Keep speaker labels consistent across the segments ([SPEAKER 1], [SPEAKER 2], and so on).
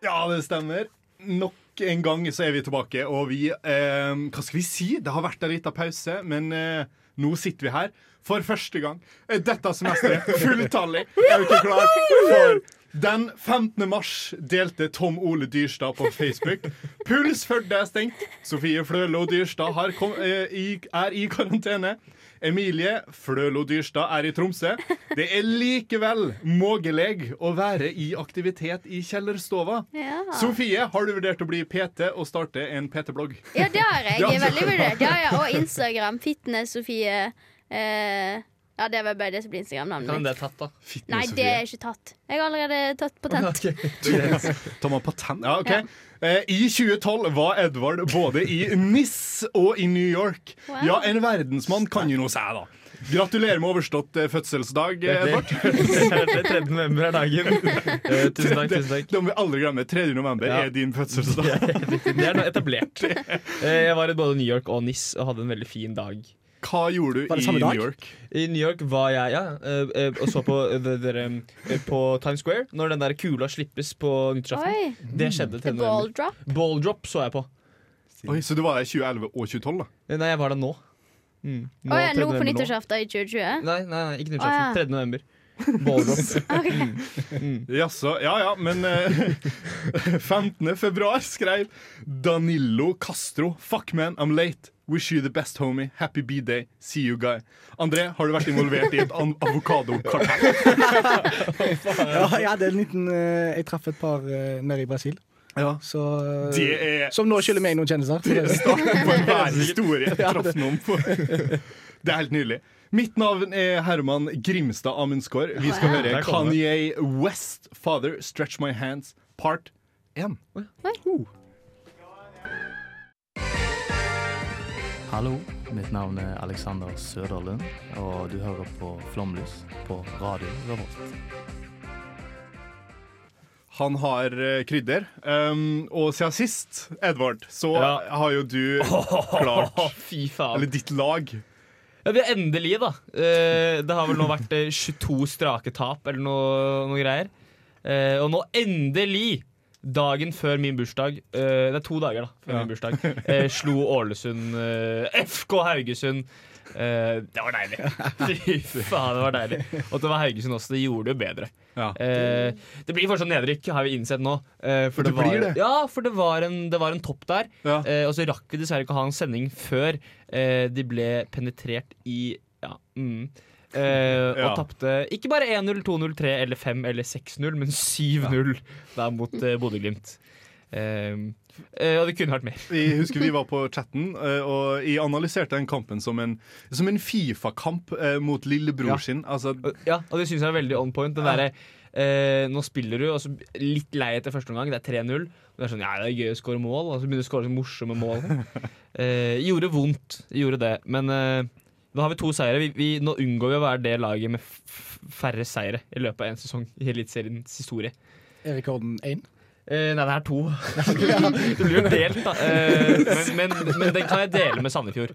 [SPEAKER 1] Ja, det stemmer. Nok en gang så er vi tilbake, og vi eh, Hva skal vi si? Det har vært en liten pause, men eh, nå sitter vi her for første gang eh, dette semesteret. Fulltallig! Er du ikke klar? For den 15. mars delte Tom Ole Dyrstad på Facebook. Puls Førde er stengt. Sofie Flølo Dyrstad har kom, eh, i, er i karantene. Emilie Flølo Dyrstad er i Tromsø. Det er likevel mulig å være i aktivitet i kjellerstova.
[SPEAKER 2] Ja.
[SPEAKER 1] Sofie, har du vurdert å bli PT og starte en PT-blogg?
[SPEAKER 2] ja, det har jeg. jeg er
[SPEAKER 1] Ja.
[SPEAKER 2] veldig vurdert. Ja, ja, og Instagram. Fitness-Sofie. Eh, ja, det er vel bare det som blir Instagram-navnet
[SPEAKER 3] Men
[SPEAKER 2] mitt.
[SPEAKER 3] det er tatt, da.
[SPEAKER 2] Nei, det er ikke tatt. Jeg har allerede tatt patent.
[SPEAKER 1] Ta meg patent. Ja, ok. Eh, I 2012 var Edvard både i Nis og i New York.
[SPEAKER 2] Wow.
[SPEAKER 1] Ja, en verdensmann kan jo noe seg, da. Gratulerer med overstått eh, fødselsdag, eh,
[SPEAKER 3] Det
[SPEAKER 1] Edvard.
[SPEAKER 3] er det 3. november er dagen. Eh, tusen takk. tusen takk
[SPEAKER 1] Det må vi aldri glemme. 3. november
[SPEAKER 3] Ja.
[SPEAKER 1] er din fødselsdag.
[SPEAKER 3] Riktig, Det er nå etablert. Eh, Jeg var i både New York og NIS og hadde en veldig fin dag.
[SPEAKER 1] Hva gjorde du
[SPEAKER 4] Var det
[SPEAKER 1] i
[SPEAKER 4] samme dag?
[SPEAKER 1] New York?
[SPEAKER 3] I New York var jeg ja, eh, eh, og så på, eh, det- dere, eh, på Times Square når den der kula slippes på nyttårsaften.
[SPEAKER 2] Oi.
[SPEAKER 3] Det skjedde
[SPEAKER 2] The
[SPEAKER 3] til
[SPEAKER 2] ball
[SPEAKER 3] november.
[SPEAKER 2] drop.
[SPEAKER 3] Ball drop så jeg på.
[SPEAKER 1] Oi, Så du var der i 2011 og 2012, da?
[SPEAKER 3] Eh, Nei, jeg var der nå. Mm.
[SPEAKER 2] Å ja, nå
[SPEAKER 3] 3.
[SPEAKER 2] på
[SPEAKER 3] november nå.
[SPEAKER 2] nyttårsaften i 2020?
[SPEAKER 3] Nei, nei, nei,
[SPEAKER 2] Å,
[SPEAKER 3] ikke
[SPEAKER 2] ja.
[SPEAKER 3] nyttårsaften. 3. november. Ball drop.
[SPEAKER 1] Jaså, ja ja, men eh, 15. februar skrev Danilo Castro Fuck man, I'm late. Wish you the best, homie. Happy B-day. See you, guy. André, har du vært involvert i et an- avokadokartell?
[SPEAKER 4] Ja, jeg hadde en liten eh, Jeg traff et par eh, nede i Brasil.
[SPEAKER 1] Ja.
[SPEAKER 4] Så, eh,
[SPEAKER 1] Det er
[SPEAKER 4] som nå skylder meg noen kjendiser. Så det,
[SPEAKER 1] starten på enhver historie jeg traff noen på. Det er helt nydelig. Mitt navn er Herman Grimstad Amundsgaard. Vi skal høre
[SPEAKER 3] Der kom det.
[SPEAKER 1] Kanye West, 'Father Stretch My Hands', part 1.
[SPEAKER 5] Hallo, mitt navn er Alexander Søderlund, og du hører på Flomlys på Radio
[SPEAKER 2] Mm.
[SPEAKER 5] Revolt.
[SPEAKER 1] Han har eh, krydder. Um, og siden sist, Edvard, så
[SPEAKER 3] Ja.
[SPEAKER 1] har jo du klart
[SPEAKER 3] Å, fy faen.
[SPEAKER 1] Eller ditt lag.
[SPEAKER 3] Ja, vi er endelig, da. Eh, det har vel nå vært eh, 22 strake tap eller noe, noe greier. Eh, og nå endelig, dagen før min bursdag eh, Det er to dager da før min bursdag. eh, slo Ålesund eh, FK Haugesund. Eh, det var deilig. Fy faen, det var deilig. Og at det var Haugesund også, det gjorde det jo bedre.
[SPEAKER 1] Ja.
[SPEAKER 3] Eh, det blir fortsatt nedrykk, har vi innsett nå. Eh, for
[SPEAKER 1] Det
[SPEAKER 3] det, var,
[SPEAKER 1] blir det.
[SPEAKER 3] Ja, for det var en, det var en topp der.
[SPEAKER 1] Ja.
[SPEAKER 3] Eh, og så rakk vi dessverre ikke å ha en sending før eh, de ble penetrert i Ja. Mm. Eh,
[SPEAKER 1] Ja.
[SPEAKER 3] Og tapte ikke bare 1-0, 2-0, 3 eller 5 eller 6-0, men 7-0 der mot eh, Bodø-Glimt. Eh, eh, og det kunne vært mer.
[SPEAKER 1] Vi husker vi var på chatten, eh, og jeg analyserte den kampen som en, som en Fifa-kamp eh, mot lillebror
[SPEAKER 3] Ja.
[SPEAKER 1] sin. Altså,
[SPEAKER 3] Og- Ja, og det syns jeg er veldig on point. Den derre eh, Nå spiller du, og så litt lei etter første omgang. Det er 3-0. Og Det er sånn, ja, det er gøy å skåre mål, og så begynner du å skåre sånne morsomme mål. Eh, gjorde vondt, gjorde det. Men eh, nå har vi to seire. Vi, vi, nå unngår vi å være det laget med f færre seire i løpet av en sesong i Eliteseriens historie.
[SPEAKER 4] er rekorden én.
[SPEAKER 3] Eh, nei, det er to. det blir jo delt, da. Eh, men, men, men den kan jeg dele med Sandefjord.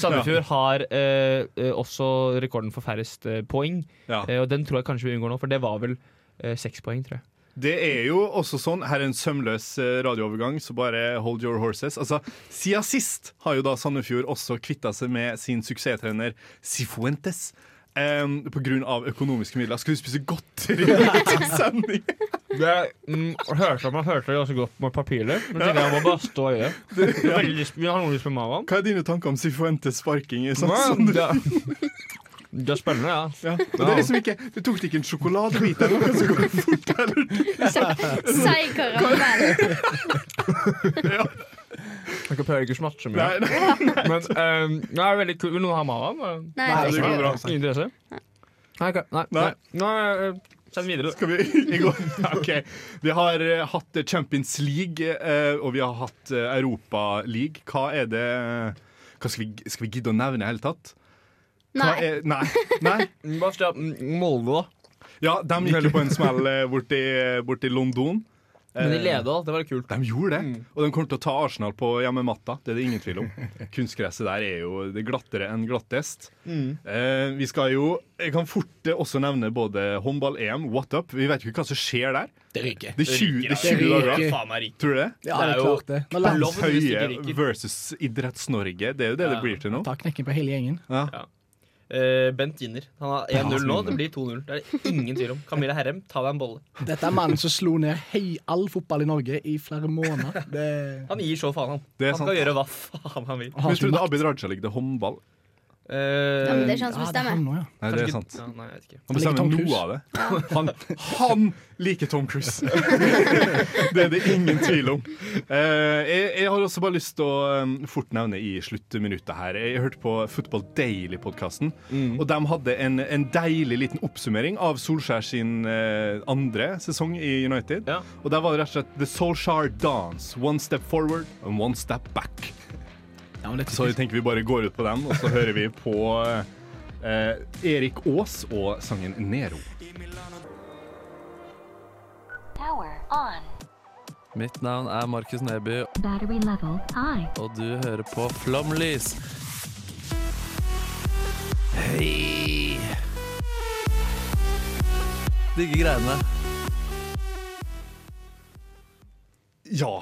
[SPEAKER 3] Sandefjord har eh, eh, også rekorden for færrest eh, poeng.
[SPEAKER 1] ja.
[SPEAKER 3] Eh, og den tror jeg kanskje vi unngår nå, for det var vel eh, seks poeng, tror jeg.
[SPEAKER 1] Det er jo også sånn, her er en sømløs eh, radioovergang, så bare hold your horses. Altså, Siden sist har jo da Sandefjord også kvitta seg med sin suksesstrener Sifuentes. Um, på grunn av økonomiske midler. Skal du spise godteri til sending?
[SPEAKER 3] Det hørte man hørte det ganske godt med papirer, men jeg må bare stå i det. Vi har noe lyst med magen.
[SPEAKER 1] Hva er dine tanker om Sifuentes sparking? i Sandefjord?
[SPEAKER 3] Det er spennende, ja.
[SPEAKER 1] Ja. Og det er liksom ikke, du tok ikke en sjokoladebit eller noe som går fort eller
[SPEAKER 2] Seig karamell.
[SPEAKER 3] Jeg kan prøve ikke å smatse mye.
[SPEAKER 1] Nei, nei.
[SPEAKER 3] Men eh, det er veldig kult. Vil noen ha magen?
[SPEAKER 2] Nei, det
[SPEAKER 4] Nei,
[SPEAKER 1] det
[SPEAKER 2] er
[SPEAKER 1] går
[SPEAKER 2] ikke
[SPEAKER 1] bra.
[SPEAKER 3] Ingen interesse?
[SPEAKER 5] Nei, ok, nei, nei.
[SPEAKER 1] Nei.
[SPEAKER 5] Nå eh, Send videre, du.
[SPEAKER 1] Skal vi gå? Ok. Vi har eh, hatt Champions League, eh, og vi har hatt eh, Europa League. Hva er det eh, Hva skal vi, skal vi gidde å nevne i det hele tatt? Hva
[SPEAKER 2] Nei.
[SPEAKER 1] Er, nei. nei.
[SPEAKER 5] Hva skal mm, Molde, da?
[SPEAKER 1] Ja, de gikk jo på en smell eh, borti, borti London. Eh,
[SPEAKER 5] Men
[SPEAKER 3] Eh,
[SPEAKER 5] de leda, da. Det var kult.
[SPEAKER 1] De gjorde det, og de kommer til å ta Arsenal på hjemmematta. Det er det ingen tvil om. Kunstgresset der er jo det glattere enn glattest. Eh, vi skal jo Jeg kan fort eh, også nevne både håndball-EM, what up. Vi vet jo ikke hva som skjer der.
[SPEAKER 5] Det ryker.
[SPEAKER 1] Det er 20, det er
[SPEAKER 4] Det
[SPEAKER 1] 20
[SPEAKER 4] ryker.
[SPEAKER 1] dager.
[SPEAKER 5] Faen meg ryker.
[SPEAKER 1] Tror du det?
[SPEAKER 4] Ja,
[SPEAKER 5] Det
[SPEAKER 4] det
[SPEAKER 5] er
[SPEAKER 4] er
[SPEAKER 5] jo
[SPEAKER 4] klart det. Når lands-
[SPEAKER 5] lov- hvis det ikke
[SPEAKER 1] Høie
[SPEAKER 5] ryker.
[SPEAKER 1] versus Idretts-Norge. Det er jo det
[SPEAKER 5] Ja.
[SPEAKER 1] det blir til nå.
[SPEAKER 4] Ta knekken på hele gjengen.
[SPEAKER 5] Eh, Bent vinner. Han har 1-0 nå. Det blir 2-0. Det er det ingen tvil om. Camilla Herrem, ta deg en bolle.
[SPEAKER 4] Dette er mannen som slo ned hei all fotball i Norge i flere måneder. Det
[SPEAKER 5] Han gir så faen, han.
[SPEAKER 1] Det er
[SPEAKER 5] Han
[SPEAKER 1] sant.
[SPEAKER 5] skal gjøre hva faen han vil.
[SPEAKER 4] han har
[SPEAKER 1] Men
[SPEAKER 4] ikke
[SPEAKER 1] tror du
[SPEAKER 4] makt.
[SPEAKER 1] Abid Raja ligger til håndball?
[SPEAKER 5] Eh,
[SPEAKER 2] Ja, men det er ikke han som
[SPEAKER 4] Ja, det er han
[SPEAKER 2] bestemmer.
[SPEAKER 4] nå, ja.
[SPEAKER 1] Nei, det
[SPEAKER 5] kanskje
[SPEAKER 1] er
[SPEAKER 5] ikke-
[SPEAKER 1] sant.
[SPEAKER 5] Ja, nei, jeg vet ikke.
[SPEAKER 1] Han
[SPEAKER 4] Han liker
[SPEAKER 1] bestemmer
[SPEAKER 4] Tom
[SPEAKER 1] noe
[SPEAKER 4] Cruise.
[SPEAKER 1] av det. Han, han liker Tom Cruise! det er det ingen tvil om. Eh, jeg, jeg har også bare lyst til å eh, fort nevne i sluttminuttet her Jeg hørte på Football Daily-podkasten,
[SPEAKER 4] Mm.
[SPEAKER 1] og de hadde en, en deilig liten oppsummering av Solskjær sin eh, andre sesong i United.
[SPEAKER 5] Ja.
[SPEAKER 1] Og der var det rett og slett The Solskjær Dance. One step forward and one step back.
[SPEAKER 4] Ja, men det
[SPEAKER 1] Så jeg tenker vi bare går ut på den, og så hører vi på eh, Erik Aas og sangen Nero.
[SPEAKER 6] Power on.
[SPEAKER 3] Mitt navn er Markus Neby,
[SPEAKER 6] Battery level high.
[SPEAKER 3] og du hører på Flomlys. Hei! Digge greiene.
[SPEAKER 1] Ja.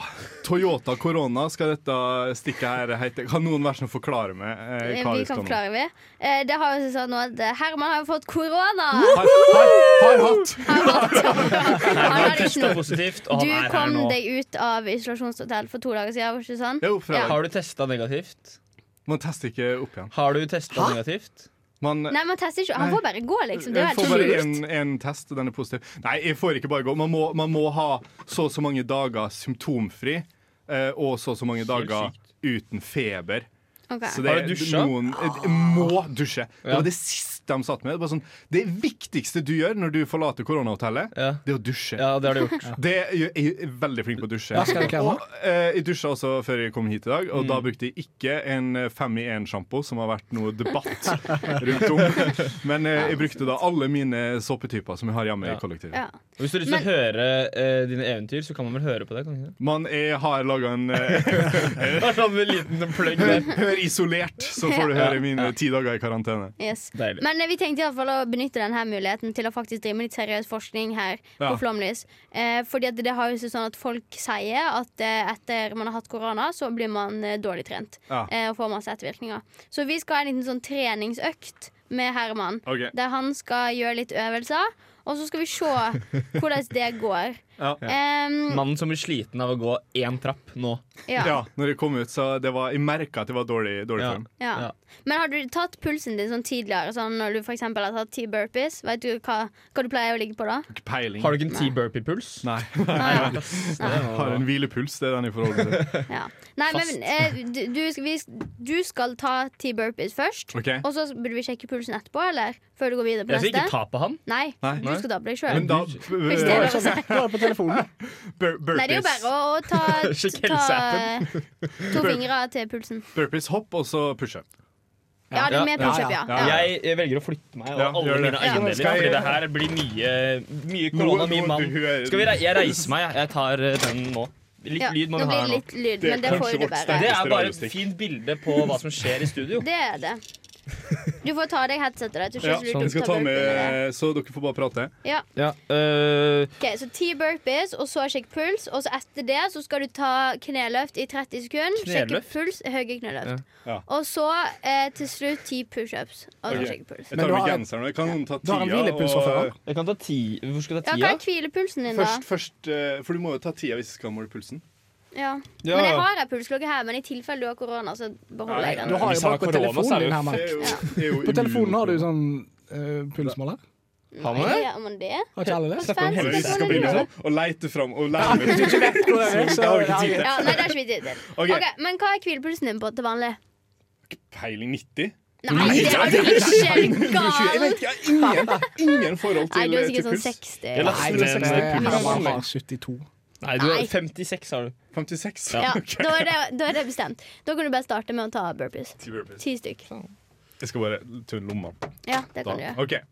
[SPEAKER 1] Toyota Corona skal dette stikket her hete. Kan noen være så snill å forklare meg eh, hva vi
[SPEAKER 2] Vi kan
[SPEAKER 1] skal nå?
[SPEAKER 2] forklare, vi. Eh, Det har jo seg sånn nå at eh, Herman har jo fått korona!
[SPEAKER 1] Har, har, har hatt!
[SPEAKER 2] Han
[SPEAKER 5] Han
[SPEAKER 2] hadde ikke
[SPEAKER 5] testa
[SPEAKER 2] noe.
[SPEAKER 5] positivt, og
[SPEAKER 2] Du
[SPEAKER 5] han er her
[SPEAKER 2] kom
[SPEAKER 5] nå.
[SPEAKER 2] deg ut av isolasjonshotell for to dager siden, var ikke sånn?
[SPEAKER 1] Jo, fredag.
[SPEAKER 5] Har du testa negativt?
[SPEAKER 1] Man tester ikke opp igjen.
[SPEAKER 5] Har du testa negativt?
[SPEAKER 1] Man,
[SPEAKER 2] Nei, man tester ikke. Han
[SPEAKER 1] Nei.
[SPEAKER 2] får bare gå, liksom. Det er
[SPEAKER 1] jeg
[SPEAKER 2] jo
[SPEAKER 1] får
[SPEAKER 2] helt
[SPEAKER 1] bare
[SPEAKER 2] sjukt.
[SPEAKER 1] en, en test, og den er positiv. Nei, jeg får ikke bare gå. Man må, man må ha så og så mange dager symptomfri, eh, og så og så mange dager uten feber.
[SPEAKER 2] Ok.
[SPEAKER 1] Så det,
[SPEAKER 5] Har du dusja?
[SPEAKER 1] Noen, eh, må dusje. Det
[SPEAKER 5] Ja.
[SPEAKER 1] var det siste de satt med. Det, var sånn, det viktigste du gjør når du forlater koronahotellet,
[SPEAKER 5] Ja.
[SPEAKER 1] det er å dusje.
[SPEAKER 5] Ja, det har du gjort.
[SPEAKER 1] Det jeg jeg er veldig flink på å dusje.
[SPEAKER 4] Ja, skal jeg klemme?
[SPEAKER 1] og, eh, jeg dusja også før jeg kom hit i dag, og
[SPEAKER 5] Mm.
[SPEAKER 1] da brukte jeg ikke en eh, fem i én-sjampo, som har vært noe debatt rundt om. Men eh, jeg brukte da alle mine såpetyper som jeg har hjemme
[SPEAKER 5] Ja.
[SPEAKER 1] i kollektivet.
[SPEAKER 2] Ja.
[SPEAKER 5] Hvis du har lyst til å høre eh, dine eventyr, så kan man vel høre på det? kan man ikke det?
[SPEAKER 1] Men jeg har laga en eh,
[SPEAKER 5] Bare sånn en liten plugg der.
[SPEAKER 1] Hør isolert, så får du høre mine ti dager i karantene.
[SPEAKER 2] Yes.
[SPEAKER 5] Deilig.
[SPEAKER 2] Men eh, vi tenkte i alle fall å benytte denne muligheten til å faktisk drive med litt seriøs forskning her.
[SPEAKER 1] Ja.
[SPEAKER 2] på Flomlys. Eh, fordi at det har jo seg sånn at folk sier at eh, etter man har hatt korona, så blir man eh, dårlig trent.
[SPEAKER 1] Ja.
[SPEAKER 2] Eh, og får masse ettervirkninger. Så vi skal ha en liten sånn treningsøkt med Herman.
[SPEAKER 1] Ok.
[SPEAKER 2] Der han skal gjøre litt øvelser. Og så skal vi se hvordan det går.
[SPEAKER 1] Ja.
[SPEAKER 2] Em,
[SPEAKER 5] Mannen som blir sliten av å gå én trapp nå.
[SPEAKER 2] ja, ja.
[SPEAKER 1] Ja, når jeg kom ut, så det var, jeg merka at det var dårlig, dårlig
[SPEAKER 5] Ja.
[SPEAKER 1] form.
[SPEAKER 5] Ja.
[SPEAKER 2] Men har du tatt pulsen din sånn tidligere, sånn når du for eksempel har tatt ti burpees? Vet du hva, hva du pleier å ligge på da?
[SPEAKER 1] Ikke peiling.
[SPEAKER 5] Har du ikke en T-burpee-puls?
[SPEAKER 1] Nei.
[SPEAKER 2] Nei,
[SPEAKER 1] Jeg har en hvilepuls, det er den jeg forholder meg til.
[SPEAKER 2] ja. Nei men eh, du, du, skal- vi, du skal ta ti burpees først.
[SPEAKER 1] Ok.
[SPEAKER 2] Og så burde vi sjekke pulsen etterpå, eller? Før du går videre på
[SPEAKER 5] Jeg skal ikke
[SPEAKER 2] neste?
[SPEAKER 5] ta på han.
[SPEAKER 2] Nei,
[SPEAKER 1] Nei.
[SPEAKER 2] du skal ta på deg sjøl.
[SPEAKER 1] Men da
[SPEAKER 2] Hvis det er lov å si.
[SPEAKER 4] Nå er det på telefonen.
[SPEAKER 1] bur
[SPEAKER 2] Nei, det er
[SPEAKER 1] burpees,
[SPEAKER 2] jo bare å, å ta,
[SPEAKER 5] Sjekk
[SPEAKER 2] ta
[SPEAKER 5] helseappen.
[SPEAKER 2] to fingre til pulsen.
[SPEAKER 1] burpees hopp og så pushup.
[SPEAKER 2] Ja, det er med
[SPEAKER 5] Ja,
[SPEAKER 2] pushup, ja.
[SPEAKER 4] ja,
[SPEAKER 2] ja.
[SPEAKER 5] Jeg, jeg velger å flytte meg og
[SPEAKER 1] Ja,
[SPEAKER 5] alle
[SPEAKER 1] gjør det.
[SPEAKER 5] mine eiendeler.
[SPEAKER 1] Skal jeg-
[SPEAKER 5] Fordi det her blir mye, mye
[SPEAKER 1] Noe-
[SPEAKER 5] korona, min
[SPEAKER 1] noe
[SPEAKER 5] mann.
[SPEAKER 1] du hører.
[SPEAKER 5] Skal vi rei jeg reiser meg, jeg. jeg tar eh, den nå. Litt
[SPEAKER 2] Ja,
[SPEAKER 5] lyd må
[SPEAKER 2] nå
[SPEAKER 5] vi ha
[SPEAKER 2] blir
[SPEAKER 5] her
[SPEAKER 2] det
[SPEAKER 5] nå.
[SPEAKER 2] litt eh, lyd,
[SPEAKER 1] Det er
[SPEAKER 2] men det
[SPEAKER 1] kanskje
[SPEAKER 2] får du
[SPEAKER 1] vårt
[SPEAKER 2] bare.
[SPEAKER 1] sterke-
[SPEAKER 5] Det er bare et
[SPEAKER 1] radiostikk.
[SPEAKER 5] fint bilde på hva som skjer i studio.
[SPEAKER 2] Det er det. Du får ta av deg headsetet. da. Jeg tror ikke
[SPEAKER 1] Ja, sånn.
[SPEAKER 2] så lurt
[SPEAKER 1] jeg
[SPEAKER 2] å
[SPEAKER 1] skal
[SPEAKER 2] ta
[SPEAKER 1] ta
[SPEAKER 2] burpee med det.
[SPEAKER 1] med, så dere får bare prate.
[SPEAKER 2] Ja.
[SPEAKER 5] Ja, øh,
[SPEAKER 2] Ok, så ti burpees, og så sjekk puls. Og så etter det så skal du ta kneløft i 30 sekunder. Sjekke
[SPEAKER 5] Kneløft?
[SPEAKER 2] puls, høye kneløft.
[SPEAKER 1] Ja. Ja.
[SPEAKER 2] Og så eh, til slutt ti pushups. Og så
[SPEAKER 1] Ok.
[SPEAKER 2] sjekke puls.
[SPEAKER 1] Jeg
[SPEAKER 4] Men
[SPEAKER 1] tar
[SPEAKER 4] du
[SPEAKER 1] med
[SPEAKER 4] har-
[SPEAKER 1] genseren. Jeg kan noen ta
[SPEAKER 4] Du har
[SPEAKER 1] tida?
[SPEAKER 4] en hvilepuls fra før
[SPEAKER 1] og- eh,
[SPEAKER 4] av.
[SPEAKER 5] jeg kan ta ti Hvor skal jeg
[SPEAKER 2] Ja,
[SPEAKER 5] ta
[SPEAKER 2] hva
[SPEAKER 5] tida?
[SPEAKER 2] er hvilepulsen din, da?
[SPEAKER 1] Først, først, eh, for du må jo ta tida hvis du skal måle pulsen.
[SPEAKER 2] Ja.
[SPEAKER 5] Ja.
[SPEAKER 2] Men jeg har en pulsklokke her, men i tilfelle du har korona, så beholder jeg
[SPEAKER 4] Du
[SPEAKER 2] den.
[SPEAKER 4] har
[SPEAKER 5] Hvis
[SPEAKER 4] jo bare
[SPEAKER 5] han har
[SPEAKER 4] på
[SPEAKER 5] korona, så er
[SPEAKER 4] telefonen
[SPEAKER 5] det
[SPEAKER 4] din,
[SPEAKER 5] jo
[SPEAKER 4] Herman.
[SPEAKER 1] Det er jo, det er jo
[SPEAKER 4] På telefonen har du sånn eh, pulsmåler.
[SPEAKER 5] Har man det?
[SPEAKER 2] Gjør man det?
[SPEAKER 4] Har ikke alle det?
[SPEAKER 1] Eller
[SPEAKER 2] Fem sekunder
[SPEAKER 1] hvis jeg skal
[SPEAKER 2] i
[SPEAKER 1] begynne
[SPEAKER 5] sånn.
[SPEAKER 2] livet.
[SPEAKER 1] å- å leite fram og lære meg pulsen.
[SPEAKER 4] Så
[SPEAKER 1] har vi ikke tid til.
[SPEAKER 2] Ja, nei, det er ikke vi tid til.
[SPEAKER 1] Ok.
[SPEAKER 2] Ok, men hva er hvilepulsen din på til vanlig?
[SPEAKER 1] Peiling 90?
[SPEAKER 2] Nei, det var du ikke
[SPEAKER 1] Jeg
[SPEAKER 2] gal!
[SPEAKER 1] vet ikke, jeg har ingen, ingen forhold
[SPEAKER 2] Nei,
[SPEAKER 1] til eh,
[SPEAKER 2] du er
[SPEAKER 1] til
[SPEAKER 2] sikkert sånn
[SPEAKER 1] puls.
[SPEAKER 2] 60.
[SPEAKER 5] Nei,
[SPEAKER 4] Nei,
[SPEAKER 5] men,
[SPEAKER 4] men
[SPEAKER 5] eh,
[SPEAKER 4] han
[SPEAKER 2] puls.
[SPEAKER 4] var bare 72.
[SPEAKER 5] Nei, du er
[SPEAKER 2] Nei.
[SPEAKER 5] 56, har du.
[SPEAKER 1] 56.
[SPEAKER 2] Ja, da er, det, da er det bestemt. Da kan du bare starte med å ta burpees. Ti stykk.
[SPEAKER 1] Jeg skal bare tømme lomma.
[SPEAKER 2] Ja, det
[SPEAKER 1] Da.
[SPEAKER 2] kan du gjøre.
[SPEAKER 1] OK.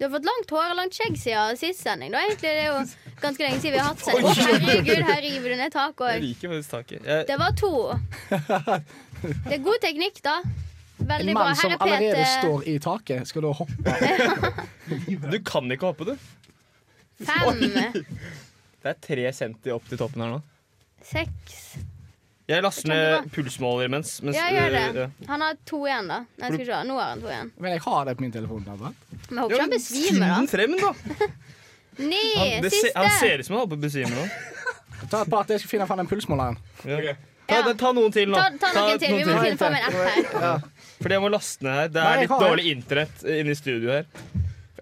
[SPEAKER 2] Du har fått langt hår og langt skjegg siden sist sending. Da egentlig det er jo ganske lenge siden vi har hatt sending. Herregud, her river du ned taket
[SPEAKER 5] Jeg
[SPEAKER 2] òg.
[SPEAKER 5] liker faktisk taket. Jeg,
[SPEAKER 2] Det var to. Det er god teknikk, da.
[SPEAKER 4] En
[SPEAKER 2] Veldig bra.
[SPEAKER 4] mann som
[SPEAKER 2] Her er
[SPEAKER 4] allerede
[SPEAKER 2] Peter
[SPEAKER 4] står i taket, skal da hoppe.
[SPEAKER 5] du kan ikke hoppe, du.
[SPEAKER 2] fem,
[SPEAKER 5] Det er tre centi opp til toppen her nå.
[SPEAKER 2] seks
[SPEAKER 5] Jeg laster
[SPEAKER 2] Jeg
[SPEAKER 5] ned pulsmåler imens. mens-
[SPEAKER 2] Ja, gjør det.
[SPEAKER 5] øh,
[SPEAKER 2] Han har to igjen, da. Nei, skal vi se. Nå har han to igjen.
[SPEAKER 4] Men jeg har det på min telefon. blant annet.
[SPEAKER 2] Men jeg
[SPEAKER 5] ja.
[SPEAKER 2] håper ikke han besvimer,
[SPEAKER 5] Finn den
[SPEAKER 2] da.
[SPEAKER 5] frem, da!
[SPEAKER 2] Ni!
[SPEAKER 5] Han, det se,
[SPEAKER 2] Siste!
[SPEAKER 5] han ser ut som han holder på å besvime nå.
[SPEAKER 4] Ta et par til, jeg skal finne fram den pulsmåleren.
[SPEAKER 5] Ja.
[SPEAKER 2] Ja.
[SPEAKER 5] Ta, ta noen til nå.
[SPEAKER 2] Ta, ta noen til. Vi må
[SPEAKER 4] til.
[SPEAKER 2] finne fram en app her.
[SPEAKER 5] Fordi jeg må laste ned her. Det
[SPEAKER 4] Nei,
[SPEAKER 5] er
[SPEAKER 4] jeg
[SPEAKER 5] litt
[SPEAKER 4] har det.
[SPEAKER 5] dårlig internett inne i studio her.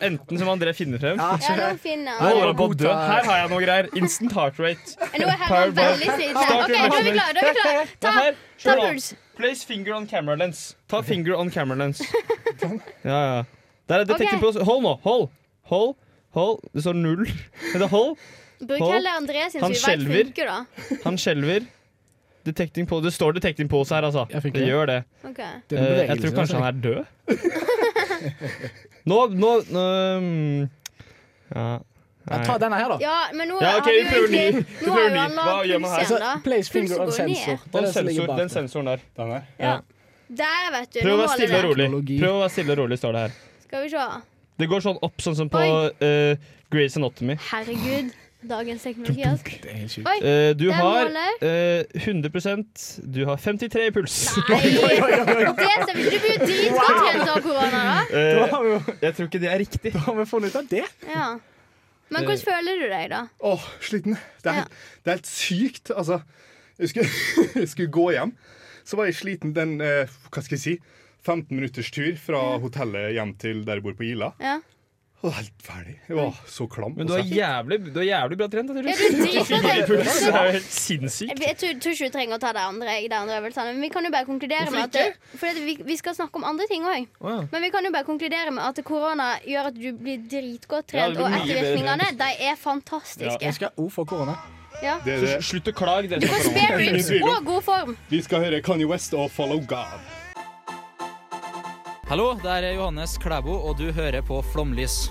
[SPEAKER 5] Enten som André finner frem.
[SPEAKER 4] Ja,
[SPEAKER 2] Ja, nå finner
[SPEAKER 5] Nå
[SPEAKER 2] han.
[SPEAKER 5] holder han på å
[SPEAKER 4] god
[SPEAKER 5] dø.
[SPEAKER 4] dag.
[SPEAKER 5] Her har jeg noe greier. Instant heart rate.
[SPEAKER 2] Nå er Herman veldig sliten. OK, da er vi klare. Da er vi klare.
[SPEAKER 5] Det
[SPEAKER 2] Ta,
[SPEAKER 5] her,
[SPEAKER 2] ta
[SPEAKER 5] slår av.
[SPEAKER 2] puls.
[SPEAKER 5] Place finger on camera lens. Ta finger on camera lens. Ja, ja. Der er detektiv på Hold nå. Hold. Hold. Hold. Det står null. Men det er hold.
[SPEAKER 2] Bruk
[SPEAKER 5] Hold.
[SPEAKER 2] heller André sin, så
[SPEAKER 5] Han
[SPEAKER 2] vi vet
[SPEAKER 5] skjelver.
[SPEAKER 2] funker, da.
[SPEAKER 5] Han skjelver. Detecting på Det står detecting pose her, altså.
[SPEAKER 4] Jeg fikk
[SPEAKER 5] det
[SPEAKER 4] det.
[SPEAKER 5] gjør det.
[SPEAKER 2] Ok.
[SPEAKER 4] Det er
[SPEAKER 5] Eh,
[SPEAKER 4] en
[SPEAKER 5] jeg tror
[SPEAKER 4] bevegelse, altså.
[SPEAKER 5] kanskje han er død. nå, nå, nå mm, Ja.
[SPEAKER 4] Ja, Ta denne her, da.
[SPEAKER 2] Ja, men nå
[SPEAKER 5] Ja,
[SPEAKER 2] har
[SPEAKER 5] ok,
[SPEAKER 2] vi
[SPEAKER 5] vi
[SPEAKER 2] jo
[SPEAKER 5] prøver ny.
[SPEAKER 2] egentlig
[SPEAKER 5] Vi
[SPEAKER 2] Nå
[SPEAKER 5] prøver
[SPEAKER 2] har jo
[SPEAKER 5] ny.
[SPEAKER 2] han
[SPEAKER 5] Hva
[SPEAKER 2] lav
[SPEAKER 5] gjør man her?
[SPEAKER 2] puls
[SPEAKER 4] Altså,
[SPEAKER 2] igjen, da.
[SPEAKER 4] place finger
[SPEAKER 2] Pulsen
[SPEAKER 4] on
[SPEAKER 2] går ned.
[SPEAKER 4] sensor. Det er
[SPEAKER 5] Den,
[SPEAKER 4] det som ligger
[SPEAKER 5] sensor,
[SPEAKER 4] bak
[SPEAKER 5] den
[SPEAKER 4] den.
[SPEAKER 5] sensoren der.
[SPEAKER 2] Ja. Der, vet du.
[SPEAKER 5] Prøv å
[SPEAKER 2] Nå
[SPEAKER 5] være
[SPEAKER 2] holder
[SPEAKER 5] stille og
[SPEAKER 2] det.
[SPEAKER 5] rolig.
[SPEAKER 4] Teknologi.
[SPEAKER 5] Prøv å være stille og rolig, står det her.
[SPEAKER 2] Skal vi se.
[SPEAKER 5] Det går sånn opp, sånn som på
[SPEAKER 2] Oi.
[SPEAKER 5] eh, Grey's Anatomy.
[SPEAKER 2] Herregud. Dagens teknologi, altså.
[SPEAKER 4] Det er helt sjukt.
[SPEAKER 2] Oi.
[SPEAKER 5] Eh, du
[SPEAKER 2] Den
[SPEAKER 5] har
[SPEAKER 2] måler.
[SPEAKER 5] eh, 100 Du har 53 i puls.
[SPEAKER 2] Nei! Det stemmer ikke. Du blir jo dritgodt trent av korona, da.
[SPEAKER 4] Da
[SPEAKER 5] Eh,
[SPEAKER 4] har vi jo
[SPEAKER 5] jeg tror ikke det er riktig.
[SPEAKER 4] da har vi funnet ut av det.
[SPEAKER 2] Ja. Men hvordan føler du deg, da?
[SPEAKER 1] Åh, sliten. Det er, helt- det er helt sykt. Altså, jeg skulle, jeg skulle gå hjem, så var jeg sliten den eh, hva skal jeg si, 15 minutters tur fra hotellet hjem til der jeg bor på Ila.
[SPEAKER 2] Ja.
[SPEAKER 1] Og helt ferdig. Jeg var så klam.
[SPEAKER 5] Men du er
[SPEAKER 1] altså.
[SPEAKER 5] jævlig, du er jævlig bra trent. da,
[SPEAKER 2] Er
[SPEAKER 5] Truls.
[SPEAKER 2] du dritgodt
[SPEAKER 5] Fire i
[SPEAKER 2] trent?
[SPEAKER 5] puls, Det er jo helt sinnssykt.
[SPEAKER 2] Jeg tror, tror ikke vi trenger å ta det andre. Jeg, det andre øvelsene. Men vi kan jo bare konkludere med at det, fordi at vi, vi skal snakke om andre ting òg.
[SPEAKER 5] Å, ja.
[SPEAKER 2] Men vi kan jo bare konkludere med at korona gjør at du blir dritgodt
[SPEAKER 5] Ja,
[SPEAKER 2] trent.
[SPEAKER 5] det blir
[SPEAKER 2] og
[SPEAKER 5] mye bedre
[SPEAKER 2] ettervirkningene, de er
[SPEAKER 4] Jeg
[SPEAKER 2] fantastiske.
[SPEAKER 4] skal O for korona.
[SPEAKER 2] Ja.
[SPEAKER 1] Det er det.
[SPEAKER 5] Slutt å klage. dere
[SPEAKER 2] Du får
[SPEAKER 5] som har
[SPEAKER 2] spare
[SPEAKER 5] korona.
[SPEAKER 2] ribs
[SPEAKER 1] tvil om.
[SPEAKER 2] og god form.
[SPEAKER 1] Vi skal høre Kanye West og Follow God.
[SPEAKER 7] Hallo, det er Johannes Klæbo, og du hører på Flomlys.